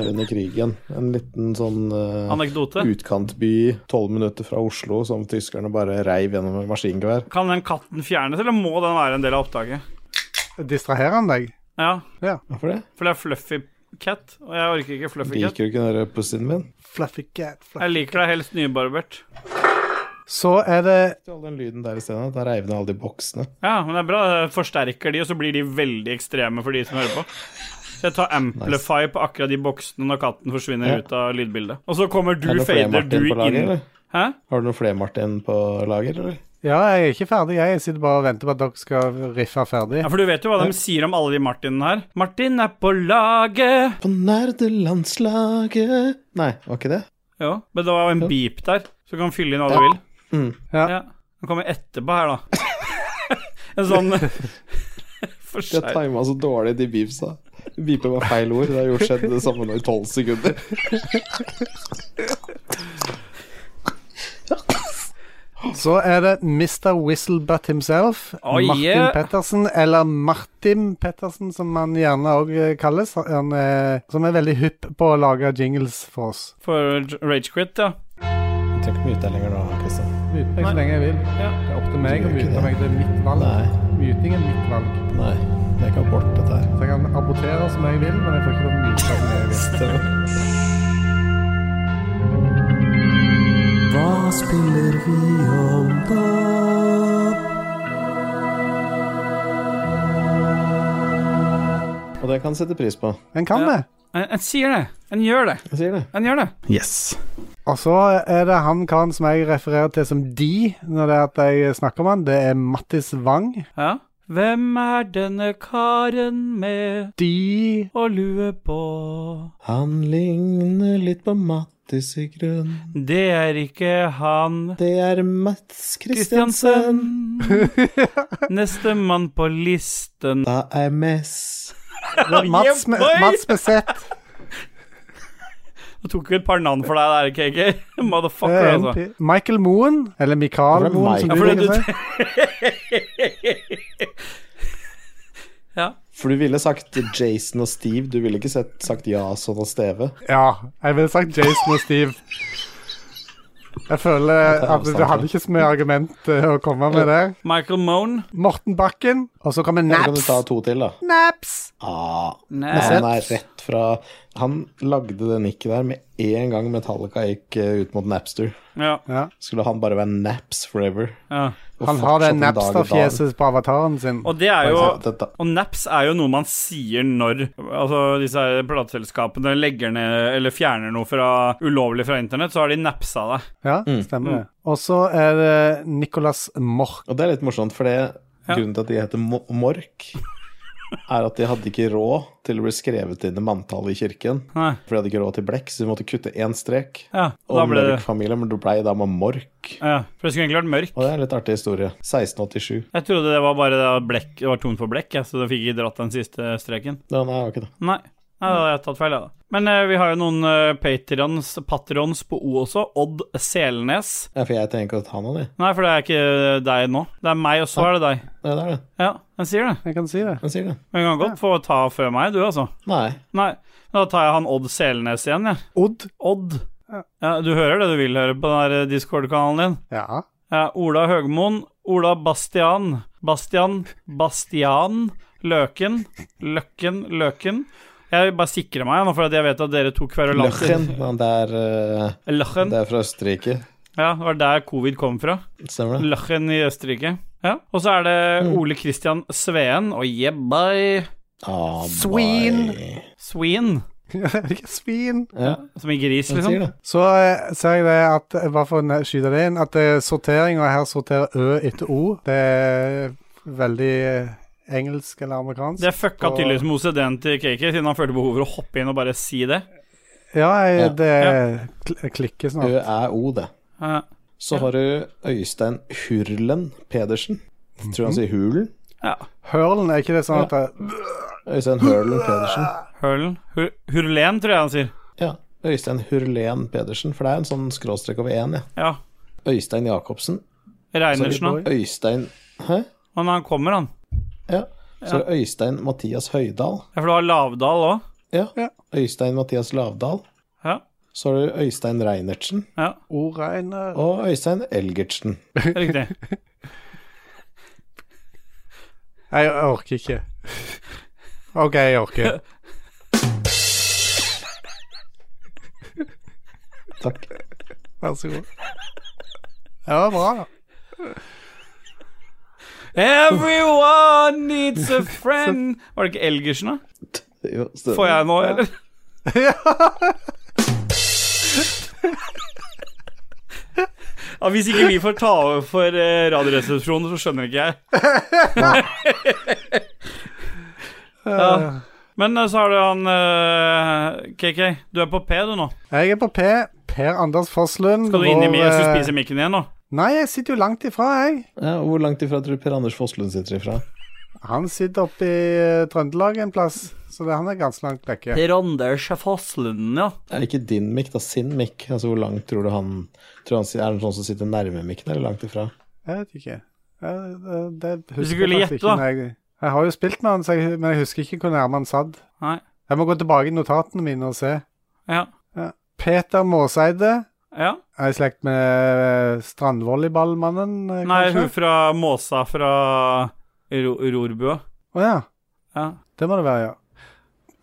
S1: eh, under krigen. En liten sånn eh,
S2: Anekdote.
S1: utkantby tolv minutter fra Oslo som tyskerne bare reiv gjennom med maskingevær.
S2: Kan den katten fjernes, eller må den være en del av opptaket?
S3: Distraherer han deg?
S2: Ja,
S1: Hvorfor det?
S2: for det er Fluffy Cat, og jeg orker ikke Fluffy Cat.
S1: Liker du ikke den der pussyen min?
S3: Fluffy cat. Fluffy.
S2: Jeg liker deg helst nybarbert.
S3: Så er det
S1: All den lyden der i stedet. Da reiv ned alle de boksene.
S2: Ja, men det er bra. Det forsterker de, og så blir de veldig ekstreme for de som hører på. Så jeg tar Amplify på akkurat de boksene når katten forsvinner
S1: Ja.
S2: ut av lydbildet. Og så kommer du,
S1: Er det noe flere
S2: fader du
S1: Martin på laget,
S2: inn.
S1: eller?
S2: Hæ?
S1: Har du noe flere Martin på lager, eller?
S3: Ja, jeg er ikke ferdig, jeg. Jeg sitter bare og venter på at dere skal riffe ferdig.
S2: Ja, for du vet jo hva de sier om alle de Martinene her. Martin er på laget!
S1: På nerdelandslaget Nei, var ikke det?
S2: Jo, men det var jo en beep der, så du kan fylle inn hva du vil.
S1: Mm.
S3: Ja.
S2: Ja. Den kommer etterpå her, da. en sånn
S1: Jeg
S2: Forsterk.
S1: tima så dårlig de beepsa. Beeper var feil ord. Det har jo skjedd det samme nå i tolv sekunder.
S3: Så er det Mr. Whistlebutt himself.
S2: Oh,
S3: Martin
S2: yeah.
S3: Pettersen, eller Martin Pettersen, som han gjerne òg kalles. Han er, som er veldig hypp på å lage jingles for oss.
S2: For Ragequit, ja.
S1: Jeg trenger ikke mye ut der lenger nå, Kristian.
S3: Mute meg så lenge jeg vil.
S2: Ja.
S3: Det er opp til meg
S1: Du
S3: å
S1: gjør ikke
S3: mute
S1: det.
S3: meg. Det er mitt valg.
S1: Nei.
S3: Muting er mitt valg.
S1: Nei. Det kan bort, dette her.
S3: Så jeg kan abortere som jeg vil, men jeg får ikke lov til å myte som jeg vil.
S4: Hva spiller vi om da?
S1: Og det kan jeg sette pris på.
S3: En kan
S2: Ja.
S3: det.
S2: En, en sier det. En gjør det.
S1: Jeg sier det.
S2: En gjør det.
S1: Yes.
S3: Og så er det han karen som jeg refererer til som de, når det er at jeg snakker om han. Det er Mattis Wang.
S2: Ja. Hvem er denne karen med
S3: De
S2: og lue på?
S1: Han ligner litt på Mattis i grunn.
S2: Det er ikke han
S1: Det er Mats
S2: Kristiansen.
S1: Kristiansen.
S2: Nestemann på listen.
S1: Da er Mess.
S3: Mats, med-
S2: boy!
S3: Mats med Z.
S2: Jeg tok jo et par navn for deg der, KK.
S3: Det
S2: Motherfucker,
S3: er en
S2: altså.
S3: pi- Michael Moen, eller Mikael
S1: Hvorfor er
S3: Moen, som
S1: Mike-
S3: du
S2: Ja, for
S3: liker å si.
S2: Ja.
S1: For du ville sagt Jason og Steve, du ville ikke sett, sagt Jason og Steve.
S3: Ja, jeg ville sagt Jason og Steve. Jeg føler at du hadde ikke så mye argument eh, å komme med der.
S2: Michael Moan.
S3: Morten Bakken, og så kommer
S1: Da kan du
S3: Naps.
S1: ta to til, da.
S3: Naps!
S1: Ah,
S2: Nei.
S1: men han er rett fra Han lagde det nikket der med en gang Metallica gikk eh, ut mot Napster.
S2: Ja.
S3: Ja.
S1: Skulle han bare være Naps forever.
S2: ja.
S1: Og
S3: Han har det
S1: fortsatt en dag i dag.
S3: Napster-fjeset på avataren sin.
S2: Og det er jo
S1: Dette-
S2: Og naps er jo noe man sier når altså disse her plateselskapene legger ned eller fjerner noe fra, ulovlig fra internett, så har de napsa det.
S3: Ja, stemmer det. Og så er det Nicolas Mork.
S1: Og det er litt morsomt, for det grunnen til at de heter Mo- Mork, er at de hadde ikke råd til å bli skrevet inn i manntallet i kirken.
S2: Nei.
S1: For de hadde ikke råd til blekk, så de måtte kutte én strek.
S2: Ja, og
S1: Og
S2: da ble det
S1: Mørk-familien men du blei da med Mork.
S2: ja, For det skulle egentlig vært mørk.
S1: Og det er en litt artig historie. 1687.
S2: Jeg trodde det var bare det at blekk, det var tomt for blekk, jeg, så da fikk jeg ikke dratt den siste streken.
S1: Ja, nei, det var ikke det.
S2: Nei. Nei, da har jeg tatt feil, jeg, da. Men eh, vi har jo noen uh, patrons, patrons på O også. Odd Selnes.
S1: Ja, for jeg tenker ikke å ta noen, jeg.
S2: Nei, for det er ikke eh, deg nå. Det er meg, og så er det deg.
S1: Ja, det er det.
S2: Ja, den sier det.
S3: Jeg kan si det.
S1: Han sier det.
S2: Men du kan godt få ta før meg, du, altså.
S1: Nei.
S2: Nei, da tar jeg han Odd Selnes igjen, jeg.
S3: Odd.
S2: Odd. Ja, du hører det du vil høre på den her Discord-kanalen din.
S3: Ja.
S2: Ja, Eh, Ola Høgmoen, Ola Bastian, Bastian, Bastian, Løken, Løkken, Løken. Jeg vil bare sikre meg nå, for at jeg vet at dere to kverulanter
S1: Løchen. men Det er, eh,
S2: Løchen.
S1: det er fra Østerrike.
S2: Ja, det var der covid kom fra.
S1: Stemmer det?
S2: Løchen i Østerrike. Ja. Og så er det
S1: Mm.
S2: Ole Christian Sveen og Jebbai
S1: Ah,
S3: Sween.
S1: bye.
S2: Sween,
S3: Ikke svin.
S1: Ja,
S2: som i gris,
S1: han sier
S2: liksom.
S1: det.
S3: Så eh, ser jeg det at Bare for å skyte det inn, at eh, sorteringa her sorterer Ø etter O. Det er veldig eh, engelsk eller amerikansk.
S2: Det fucka
S3: Og-
S2: tydeligvis med OCD-en til KK, siden han følte behov for å hoppe inn og bare si det.
S1: Ja.
S3: Ja, jeg, det kl- eh, klikker
S1: Ø
S3: snart.
S1: er O, det.
S2: Ja.
S1: Så har du Øystein Hurlen Pedersen.
S2: Mhm.
S1: Jeg tror han sier Hulen.
S2: ja.
S3: Hurlen, er ikke det sånn at det,
S1: Øystein Hurlen Pedersen.
S2: Hurlen Hur Hurlen, tror jeg han sier.
S1: Ja. Øystein Hurlen Pedersen, for det er en sånn skråstrek over én, ja.
S2: Ja.
S1: Øystein Jacobsen. Så
S2: Reinersen, han.
S1: er det Øystein Hæ?
S2: Men han kommer, han.
S1: Ja. Så er det Øystein Mathias Høydal.
S2: Ja, for du har Lavdal òg.
S1: Ja.
S3: Ja.
S1: Øystein Mathias Lavdal.
S2: Ja.
S1: Så har du Øystein Reinertsen
S2: ja.
S3: Oreiner
S1: og Øystein Elgertsen.
S2: Riktig.
S3: Jeg orker ikke. OK, jeg orker.
S1: Takk.
S3: Vær så god. Det var bra. da.
S2: Everyone needs a friend Var det ikke Elgersen, da?
S1: Jo, så-
S2: Får jeg nå, eller? Ja, hvis ikke vi får ta over for eh, Radioresepsjonen, så skjønner ikke jeg. ja. Men eh, så har du han eh, KK. Du er på P, du nå.
S3: Jeg er på P. Per Anders Forslund.
S2: Skal du inn i mi- Jeg
S3: vår, eh,
S2: skulle spise mikken igjen nå.
S3: Nei, jeg sitter jo langt ifra, jeg.
S1: Ja, og hvor langt ifra tror du Per Anders Fosslund sitter ifra?
S3: Han sitter oppe i eh, Trøndelag en plass, så det, han er ganske langt vekke.
S2: Per Anders Fosslund, ja.
S1: Ja, ikke din mikk, da. Sin mikk. Altså, hvor langt tror du han Tror han si- Er han sånn som sitter nærme mikken, eller langt ifra?
S3: Jeg vet ikke. Jeg, det, det husker
S2: Hvis du skulle
S3: jeg
S2: gjette,
S3: faktisk ikke
S2: da?
S3: når Jeg, jeg har jo spilt med han, så jeg, men jeg husker ikke hvor nærme han satt.
S2: Nei.
S3: Jeg må gå tilbake i notatene mine og se.
S2: Ja.
S3: Peter Måseide
S2: ja.
S3: er i slekt med eh, strandvolleyballmannen, eh,
S2: Nei, hun
S3: kanskje?
S2: fra Måsa fra Ro Rorbua.
S3: Å ja.
S2: Ja.
S3: Det må det være, ja.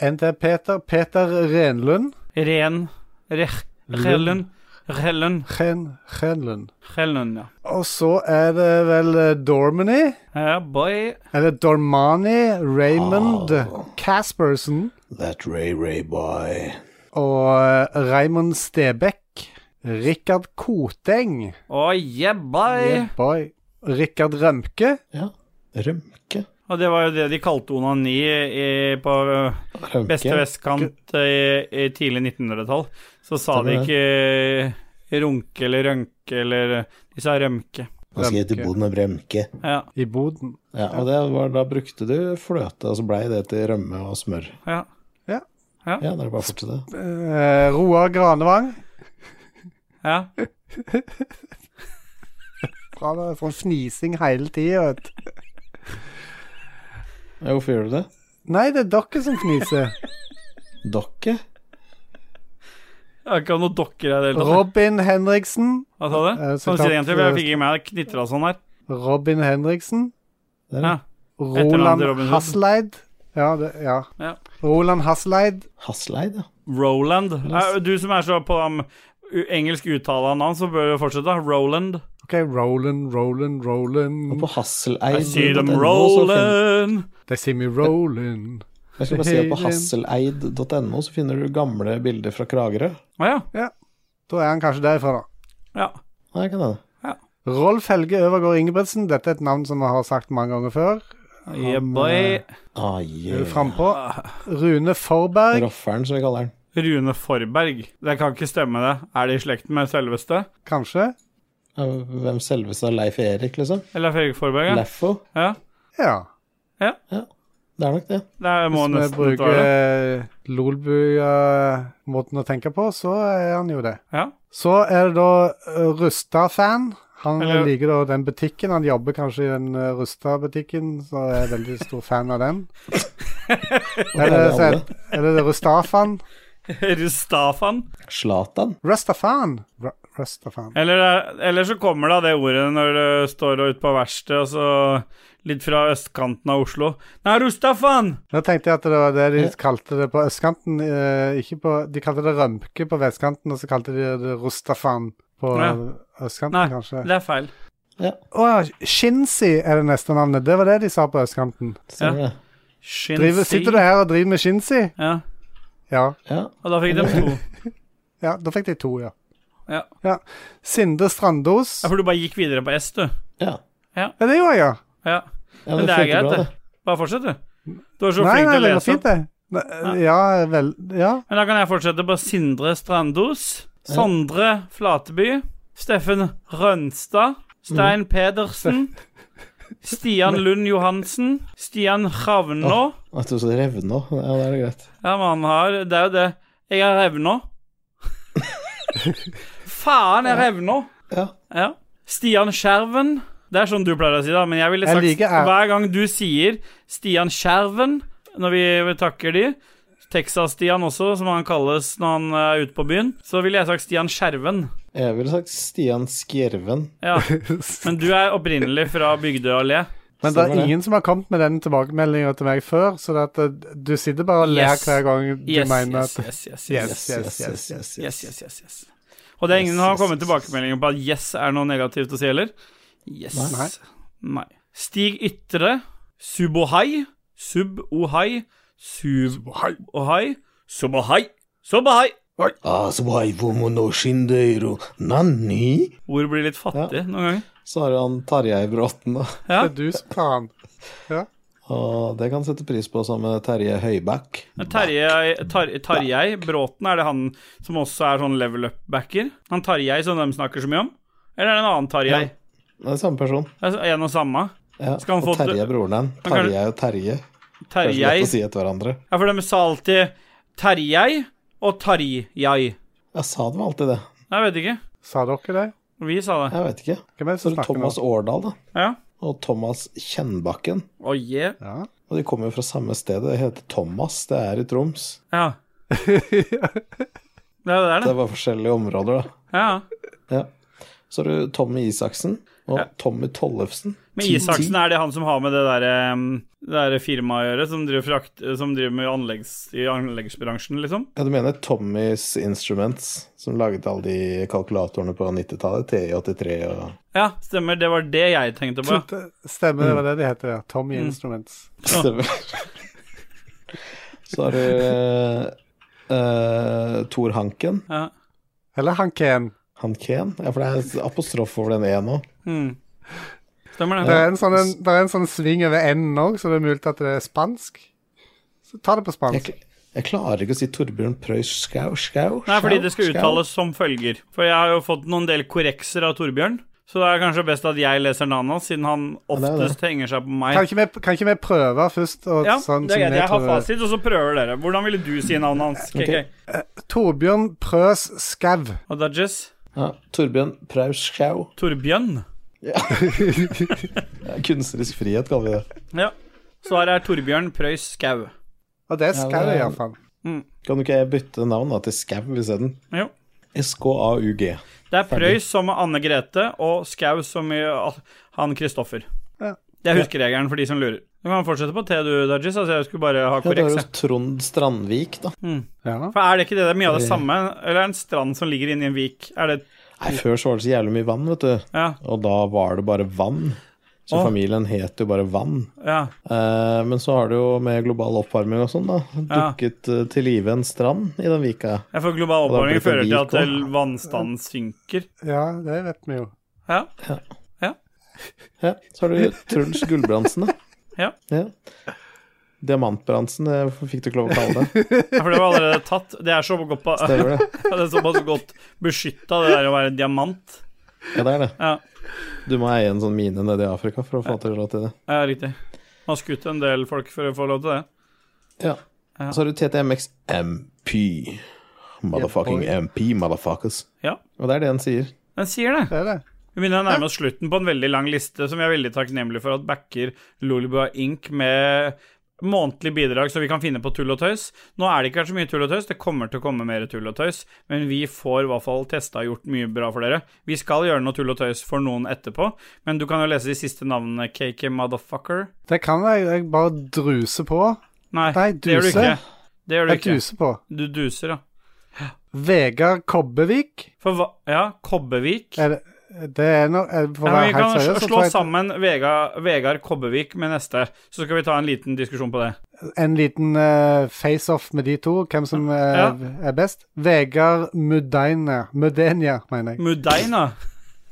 S3: En til Peter. Peter Renlund.
S2: Ren Rech... Rellen. Rellen.
S3: Ren, Renlund.
S2: Rellen, ja.
S3: Og så er det vel eh, Dormany.
S2: Ja, boy.
S3: Eller Dormani, Raymond Caspersen
S1: That Ray Ray Boy.
S3: og eh, Raymond Stebekk. Rikard Koteng.
S2: Å, yeah, boy.
S3: Yeah, boy. Rikard Rømke.
S1: Ja. Rømke.
S2: Og det var jo det de kalte onani i, på ø,
S1: Rømke.
S2: beste vestkant ø, i, i tidlig 1900-tall. Så sa de
S1: Stemmer det.
S2: ikke ø, runke eller rønke eller ø, De sa rømke.
S1: Nå skal jeg til
S3: Rømke.
S1: boden og Rømke.
S2: Ja.
S3: I Boden.
S1: Ja, og det var, da brukte du fløte, og så blei det til rømme og smør.
S2: ja.
S1: Ja, det er bare å fortsette.
S3: Eh, Roar Granevang.
S2: Ja.
S3: fra det. Sånn fnising hele tida, vet du.
S1: Ja, hvorfor gjør du det?
S3: Nei, det er dere som fniser.
S1: Dokke?
S2: Jeg har ikke hatt noen dokker her i det hele tatt.
S3: Robin Henriksen.
S2: Hva sa du?
S3: Eh,
S2: Kan du si det
S3: sitat,
S2: en gang til? For Jeg
S3: eh,
S2: fikk ikke med meg det knitra sånn her.
S3: Robin Henriksen.
S1: Der,
S2: Ja.
S1: ja.
S3: Roland
S2: til Robin Hood.
S3: Hasleid. Ja, det, ja.
S2: Ja.
S3: Roland Hasleid.
S1: Hasleid, ja.
S2: Roland. Eh, Du som er så på um, u- engelsk uttale av navn, så bør du fortsette. Roland.
S3: OK, Roland, Roland,
S1: Og
S3: Roland.
S1: på Hasseleid
S2: I see them
S1: punktum no, så finner-
S2: rolling.
S3: They see me rolling.
S1: Jeg skal bare si at på
S3: Hey,
S1: hasseleid.no så finner du gamle bilder fra Kragerø.
S2: Å ja.
S3: Da er han kanskje derifra, da.
S2: ja.
S1: Nei, kan det.
S3: Rolf Helge Øvergaard Ingebrigtsen. Dette er et navn som vi har sagt mange ganger før.
S2: Yeah, boy.
S1: Ah,
S3: Er du
S1: yeah.
S3: Frampå. Rune Forberg.
S1: Rofferen, som vi kaller den.
S2: Rune Forberg. Det kan ikke stemme, det. Er det i slekt med selveste?
S3: Kanskje?
S1: Ja, Hvem selveste er Leif Erik, liksom?
S2: Eller Fredrik Forberg? Ja.
S1: Leffo?
S2: ja.
S3: Ja.
S1: Det er nok det.
S2: Det er- må
S3: Hvis vi
S2: nesten være det.
S3: bruker Lolbu-måten å tenke på, så er han jo det.
S2: Ja.
S3: Så er det da eh, Rusta-fan. Han
S2: Eller-
S3: liker da den butikken. Han jobber kanskje i den eh, Rusta-butikken, så jeg er veldig stor fan av den.
S1: er
S3: Eller
S1: det
S3: så
S1: alle?
S3: er det, det Rustafan.
S2: Rustafan.
S1: Zlatan?
S3: Rustafan! Ru- Rustafan.
S2: Eller, eh, eller så kommer da det ordet når du står ute på verksted, og så litt fra østkanten av Oslo. Nei, Rustafan!
S3: Da tenkte jeg at det var det de kalte det på østkanten. eh, ikke på, de kalte det rømke på vestkanten, og så kalte de det Rustafan på
S2: Ja.
S3: eh, østkanten,
S2: Nei,
S3: kanskje.
S2: det er feil.
S3: Å ja, Shinsi er det neste navnet. Det var det de sa på østkanten.
S1: Stemmer det.
S2: Shinsi.
S3: Driver, sitter du her og driver med Shinsi?
S2: Ja,
S3: Ja.
S1: Ja.
S2: og da fikk de to.
S3: ja. Da fikk de to, ja.
S2: Ja.
S3: Sinde Strandos.
S2: Ja, For du bare gikk videre på S, du.
S1: ja.
S3: Ja, det gjorde jeg, ja.
S2: Ja.
S1: ja
S2: Men det er
S1: funker
S2: greit,
S1: bra,
S2: det. Bare fortsett, du. Du er så
S3: Nei,
S2: flink
S3: nei,
S2: til å
S3: det var
S2: lese.
S3: fint, det. Nei, Ja, vel Ja.
S2: Men da kan jeg fortsette på Sindre Strandos, Sondre Flateby, Steffen Rønstad,
S3: Mm.
S2: Stein Pedersen, Stian Lund Johansen, Stian Ravnå.
S1: Jeg tror det revner òg. Ja, da er det greit.
S2: Ja, men han har Det er jo det. Jeg har revna. Faen, jeg revna.
S1: Ja.
S2: Ja. Stian Skjerven. Det er sånn du pleier å si, da, men jeg ville
S3: Jeg
S2: sagt
S3: liker æ-
S2: Hver gang du sier Stian Skjerven når vi takker de, Texas-Stian også, som han kalles når han er ute på byen, så ville jeg sagt Stian Skjerven.
S1: Jeg ville sagt Stian Skjerven.
S2: Ja. Men du er opprinnelig fra Bygdøy allé.
S3: Men det
S1: Stemmer
S3: er
S1: det.
S3: ingen som har kommet med den tilbakemeldinga til meg før, så det at eh, du sitter bare og ler
S2: Yes.
S3: hver gang du
S2: Yes,
S3: mener
S2: yes,
S3: at
S2: yes, yes, yes.
S3: Yes, yes, yes, yes.
S2: Yes, yes, yes, yes. Og det er ingen som har
S1: Yes, yes,
S2: kommet
S1: yes,
S2: tilbakemeldinger på at 'yes' er noe negativt å si heller. Yes.
S3: Nei.
S2: Nei. Stig Ytre, Subohai, Subohai, Subohai, Subohai, Subohai.
S1: Ah, survival no shindeiro. Nani?
S2: Ord blir litt fattig noen ganger.
S1: Så har du han Tarjei Bråten, da.
S2: Ja.
S3: det er du som tar den.
S1: Og det kan sette pris på sammen med Terje Høybakk.
S2: Men Terjei, tar, Tarjei Bråten, er det han som også er sånn level up-backer? Han Tarjei som de snakker så mye om? Eller er det en annen Tarjei?
S1: Det er samme person.
S2: Det er en og samme.
S1: Ja.
S2: Skal han
S1: og
S2: få-
S1: Terje er broren din.
S2: Han kan-
S1: Terje og Terje. Det er så
S2: Terjei.
S1: lett å si etter hverandre.
S2: Ja, for de sa alltid Terjei og Tarjei.
S1: Jeg sa det var alltid det.
S2: Jeg vet ikke.
S3: Sa dere det?
S2: Vi sa det.
S1: Jeg vet ikke.
S3: Hvem er det
S1: Så
S3: som
S1: er det
S3: snakker nå?
S1: Thomas Årdal, da.
S2: Ja.
S1: Og Thomas Kjennbakken.
S2: Oh, yeah.
S3: Ja.
S1: Og de kommer jo fra samme sted. Det heter Thomas. Det er i Troms.
S2: ja. Det er det der,
S1: Det
S2: det.
S1: er bare forskjellige områder, da.
S2: Ja.
S1: Ja. Så har du Tommy Isaksen og Tommy Tollefsen.
S2: Men
S1: 10-10.
S2: Isaksen, er det han som har med det derre det der firmaet å gjøre, som driver, frakt, som driver med anleggs, i anleggsbransjen, liksom?
S1: Ja, du mener Tommys Instruments, som laget alle de kalkulatorene på 90-tallet? TI83 og
S2: Ja, stemmer. Det var det jeg tenkte på.
S3: Det Stemmer,
S1: Mm.
S3: det var det de heter, ja. Tommy Instruments.
S1: Stemmer. Så har du uh, Tor Hanken.
S2: Ja.
S3: Eller Hanken.
S1: Hanken? Ja, for det er apostrof over den E E-en òg.
S2: Mm. Stemmer
S3: Det
S2: det.
S3: er en sånn, en, det er en sånn sving over enden òg, så det er mulig at det er spansk. Så ta det på
S1: Jeg,
S3: spansk.
S1: kl- jeg klarer ikke å si Torbjørn Preus Skau, Skau
S2: Nei, fordi
S1: Skau,
S2: det skal
S1: Skau.
S2: uttales som følger. For jeg har jo fått noen del korrekser av Torbjørn, så det er kanskje best at jeg leser navnet hans, siden han
S1: det er jo det.
S2: oftest henger seg på meg.
S3: Kan ikke, vi, kan ikke vi prøve først? Og,
S2: Ja,
S3: sånn,
S2: det er
S3: som
S2: greit.
S3: vi
S2: Jeg har
S3: tror det-
S2: fasit, og så prøver dere. Hvordan ville du si navnet hans? KK?
S1: Ok.
S3: Torbjørn Prøs Skau.
S2: Og Dodges?
S1: Ja, Torbjørn Preus Skau.
S2: Torbjørn?
S1: Kunstnerisk frihet, kaller vi det.
S2: Ja. Svaret er Torbjørn Prøys Skau.
S3: Og det
S1: Ja,
S3: skal
S1: det
S3: jeg
S1: er-
S3: iallfall.
S1: Kan du ikke jeg bytte navn da, til Skau isteden?
S2: Jo.
S1: SKAUG.
S2: Det er Prøys som i Anne Grete, og Skau som i al- han Kristoffer.
S3: Ja.
S2: Det er huskeregelen for de som lurer. Du kan fortsette på T, du, Dajis. Altså, jeg skulle bare ha
S1: Ja, da
S2: korrekt.
S1: har
S2: jeg.
S1: du Trond Strandvik, da.
S3: Ja.
S2: For er det ikke det, det er mye av det samme? Eller er det en strand som ligger inni en vik? Er det
S1: Nei, før så var det så jævlig mye vann, vet du.
S2: Ja.
S1: Og da var det bare vann. Så
S2: Å.
S1: familien het jo bare Vann.
S2: ja.
S1: Eh, men så har det jo med global oppvarming og sånn, da, dukket eh, til live en strand i den vika.
S2: Jeg får global
S1: Og da blir
S2: oppvarming
S1: det
S2: fører til
S1: vik
S2: at
S1: også.
S2: eh, vannstanden synker.
S3: ja, det vet vi jo.
S2: Ja.
S1: Ja, så har du Truls Gulbrandsen, da.
S2: Ja.
S1: Diamantbrandsen, det eh, fikk du ikke lov å kalle det.
S2: Ja, For det var allerede tatt. Det er så godt, på, det
S1: Stemmer det?
S2: er såpass godt beskytta, det der å være diamant.
S1: Ja, det er det.
S2: Ja,
S1: Du må eie en sånn mine nede i Afrika for å få til råd til det.
S2: ja riktig. Man har skutt en del folk for å få lov til det.
S1: Ja. Så har du TTMX MP. Motherfucking MP, motherfuckers.
S2: Ja.
S1: Og det er det han sier.
S2: Den sier det.
S3: Det er det.
S2: Vi begynner å nærme oss slutten på en veldig lang liste, som vi er veldig takknemlige for at backer Lolibua Inc. med månedlig bidrag, så vi kan finne på tull og tøys. Nå er det ikke så mye tull og tøys, det kommer til å komme mer tull og tøys, men vi får i hvert fall testa og gjort mye bra for dere. Vi skal gjøre noe tull og tøys for noen etterpå, men du kan jo lese de siste navnene, KK Motherfucker.
S3: Det kan jeg. Jeg bare druser på.
S2: Nei,
S3: Nei,
S2: det gjør du
S3: duse.
S2: ikke. Det gjør du
S3: Jeg
S2: ikke.
S3: duser på.
S2: Du duser, ja.
S3: Vegard Kobbevik.
S2: For hva Ja, Kobbevik.
S3: Er det, det er no, er, for å
S2: Ja, men
S3: være
S2: vi kan
S3: helt
S2: slå
S3: seriøs, så
S2: slå
S3: tror jeg
S2: sammen Vega, Vegard Kobbevik med neste, så skal vi ta en liten diskusjon på det.
S3: en liten eh, face-off med de to, hvem som eh,
S2: Ja.
S3: er best. Vegard Mudenia, Mudenia, mener jeg.
S2: Mudeina.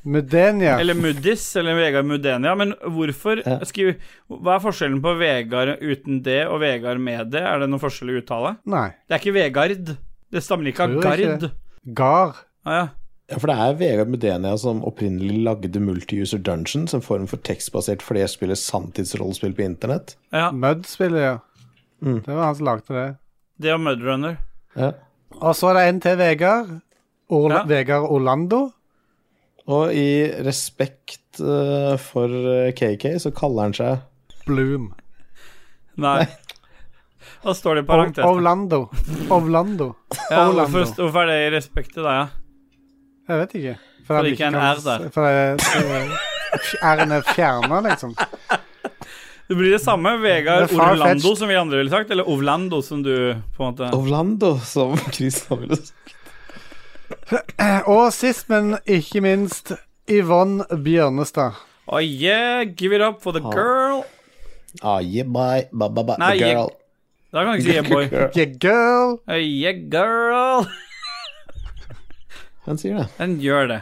S3: Mudenia.
S2: Eller Muddis, eller Vegard Mudenia. Men hvorfor
S1: Ja.
S2: skriv, Hva er forskjellen på Vegard uten det og Vegard med det? Er det noen forskjell i uttale?
S3: Nei.
S2: Det er ikke Vegard. Det stammer ikke av
S3: Tror jeg ikke
S2: gard.
S3: det. Gard.
S2: Ah, ja.
S1: Ja, for det er Vegard Mudenia som opprinnelig lagde Multi-User Dungeons, en form for tekstbasert flerspillers sanntidsrollespill på internett.
S2: ja.
S3: Mud spiller, ja.
S1: Mm.
S3: Det var han som lagde det.
S2: Det og Mudrunner.
S1: Ja.
S3: Og så er det en til Vegard. Orla
S2: Ja.
S3: Vegard Orlando.
S1: Og i respekt eh, for eh, KK, så kaller han seg
S3: Bloom.
S2: Nei. Da står det i
S3: O-
S2: parentes.
S3: Orlando. Orlando.
S2: Ja,
S3: Orlando.
S2: hvorfor, hvorfor er det i respekt til deg, ja?
S3: Jeg vet ikke. For,
S2: det
S3: han
S2: ikke er en
S3: kan-
S2: R der.
S3: For det- så- R-en er fjerna, liksom.
S2: Det blir det samme Vegard
S3: Det er farfetched.
S2: Orlando som vi andre ville sagt, eller Ovlando som du på en måte
S1: Ovlando, som Christian ville sagt.
S3: Og sist, men ikke minst, Yvonne Bjørnestad.
S2: Oh yeah, give it up for the girl.
S1: Ah, yeah, bye, bye, bye, bye,
S2: Nei,
S1: the
S2: jeg-
S1: girl.
S2: Da kan du ikke si yeah, boy.
S1: Girl.
S3: Yeah, girl.
S2: Oh yeah, girl.
S1: Han sier det.
S2: Den gjør det.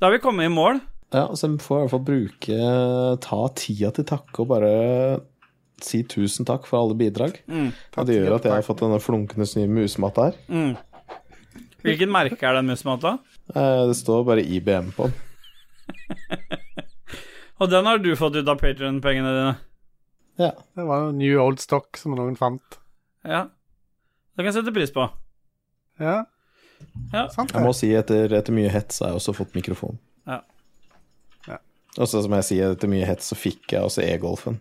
S2: Da har vi kommet i mål.
S1: Ja, så vi får i hvert fall bruke eh, Ta tida til takke og bare si tusen takk for alle bidrag.
S2: Mm,
S1: Ja, det gjør at jeg har fått denne flunkende nye musematta her.
S2: Hvilket Mm. merke er den musematta?
S1: Eh, Det står bare IBM på den.
S2: Og den har du fått ut av Patreon-pengene dine.
S1: Ja.
S3: Det var jo New Old Stock som noen fant.
S2: Ja. Det kan jeg sette pris på.
S3: Ja,
S2: Ja.
S3: sant
S1: Jeg må
S3: det.
S1: si etter, etter mye hets har jeg også fått mikrofon.
S2: Ja.
S3: Ja.
S1: Og så som jeg sier, etter mye hets så fikk jeg også e-golfen.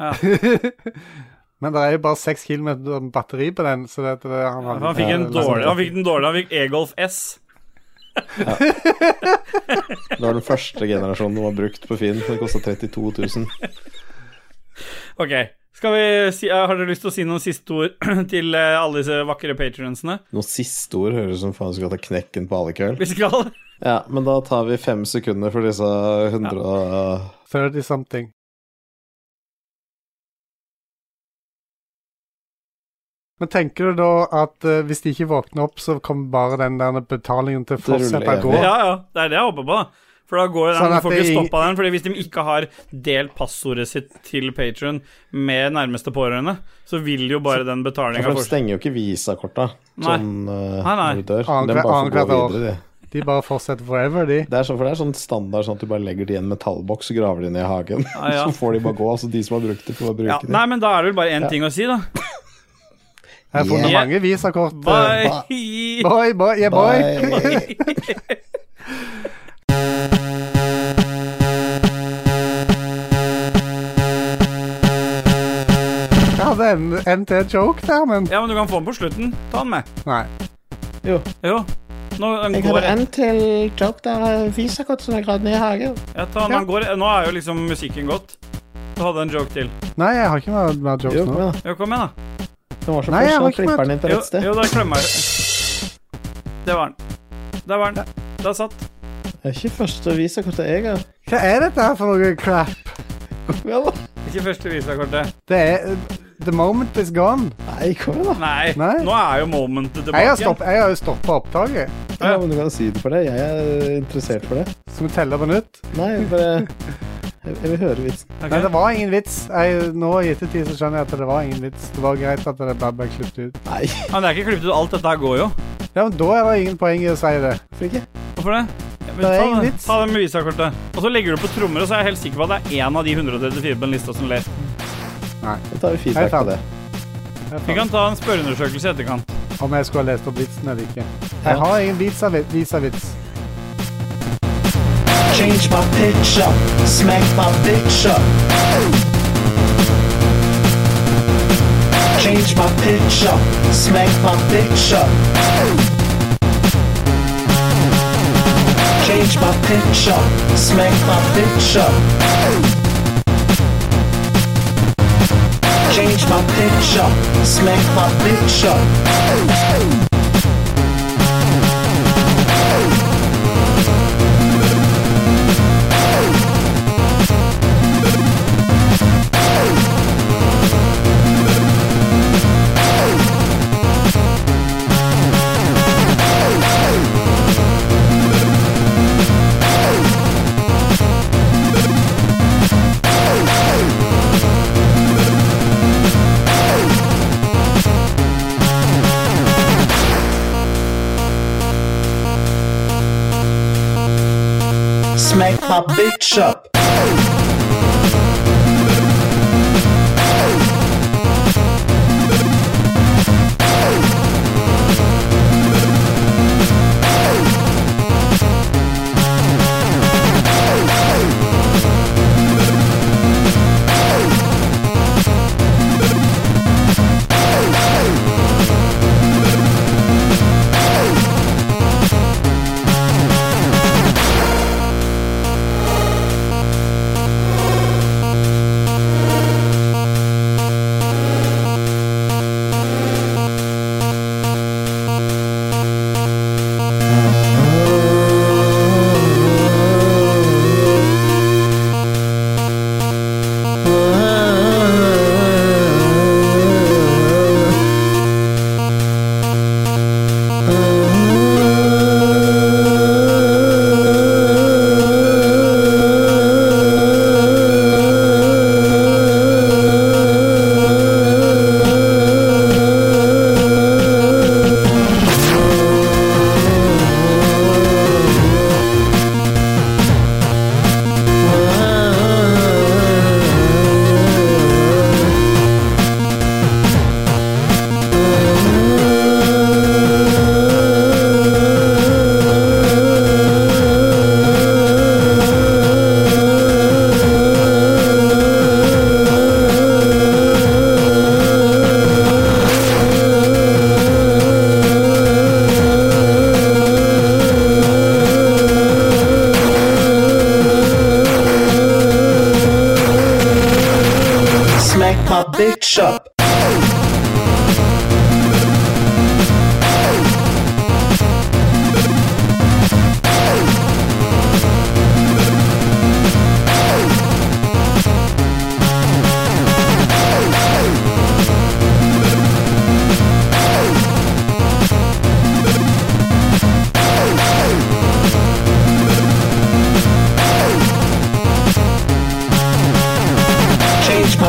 S3: Men det er jo bare 6 km batteri på den, så det, det han, hadde-
S2: Han fikk, en dårlig, han fikk den dårlig. Han fikk E-Golf S.
S1: Det var den første generasjonen de har brukt på Finn. Det kosta 32 000.
S2: Ok. Skal vi si, har dere lyst til å si noen siste ord til eh, alle disse vakre patronsene?
S1: Noen siste ord høres ut som faen skal ta knekken på alle kveld.
S2: Vi skal
S1: Ja, men da tar vi fem sekunder for disse 100 og
S3: 30 something. Men tenker du da at eh, hvis de ikke våkner opp, så kommer bare den der betalingen til å
S1: ruller
S3: fortsette å gå?
S1: evig.
S2: Ja, ja. Det er det jeg håper på, da. For da går jo den,
S3: Sånn at
S2: du får ikke
S3: det-
S2: stoppa den. Fordi hvis de ikke har delt passordet sitt til Patron med nærmeste pårørende, så vil jo bare den
S1: Ja,
S2: betalinga
S1: for de stenger jo ikke visakorta
S2: Nei.
S1: sånn eh,
S2: Nei, nei.
S1: når du dør.
S3: Annet
S1: Den
S3: hver-
S1: bare får
S3: annet
S1: gå
S3: hvert år.
S1: videre, de.
S3: De bare fortsetter forever, de.
S1: Det er, sånn, for det er sånn standard sånn at du bare legger det i en metallboks og graver det ned i hagen.
S2: Ja, ja.
S1: Så får de bare gå. Altså de som har brukt det, får bare
S2: ja,
S1: bruke det.
S2: Nei, men da er det vel bare én ting å si, da.
S3: Jeg har funnet
S2: Yeah.
S3: mange visakort. eh,
S2: Bye!
S3: Boy, boy, yeah, boy.
S1: Bye.
S3: en, en til joke der, men
S2: Ja, men du kan få den på slutten. Ta den med.
S3: Nei.
S1: Jo.
S2: Jo. Nå, den
S1: Jeg
S2: går,
S1: hadde en til joke der eh, visakortet som er gravd ned i hagen.
S2: ja, ta, den,
S3: Ja.
S2: den går. Nå er jo liksom musikken gått. Du hadde en joke til.
S3: Nei, jeg har ikke mer, mer
S1: Jo,
S3: jokes
S1: kom
S3: nå.
S1: igjen, da.
S2: Jo, kom igjen, da.
S1: Den var så
S3: Nei, jeg
S1: først, så
S3: var ikke
S1: klipper
S3: med.
S1: den inn på
S2: Jo,
S1: rett sted.
S2: jo der klemmer jeg. Det var den. Der var den. Der satt.
S1: Det er ikke første visakortet jeg har.
S3: Hva er dette her for noe crap?
S1: Ja, da.
S2: Ikke første visakortet.
S3: Det er eh, The moment is gone.
S1: Nei, kom igjen, da.
S2: Nei.
S3: Nei.
S2: Nå er jo momentet tilbake.
S3: Jeg har, stopp, jeg har jo stoppa opptaket.
S1: Ja, men du kan si det for det. Jeg er interessert for det.
S3: Skal vi telle på nytt?
S1: Nei, jeg bare Jeg jeg vil høre vitsen.
S2: Ok.
S3: Nei, det var ingen vits. Jeg, nå i ettertid så skjønner jeg at det var ingen vits. Det var greit at det bare ble klippet ut.
S1: Nei,
S2: Ja, men det er ikke klippet ut. Alt dette her går jo.
S3: Ja, men da er det ingen poeng i å si det.
S1: hvorfor ikke?
S2: Hvorfor det? Ja, men
S3: Det er
S2: ta
S3: ingen
S2: den-
S3: vits.
S2: Ta den med visakortet. Og så legger du på trommer, og så er jeg helt sikker på at det er én av de 134 på den lista som ler.
S1: Da tar vi
S3: Jeg
S1: feedback
S3: tar
S1: på det.
S2: Vi kan ta en spørreundersøkelse i etterkant.
S3: Om jeg skulle ha lest opp vitsen eller ikke. Jeg har ingen vits av vits. Vis av vits.
S4: Change my picture, smack my picture. Change my picture, smack my picture. Change my picture, smack my picture. Change my picture, smack my picture. Smack my bitch up. Smack my bitch up. Change my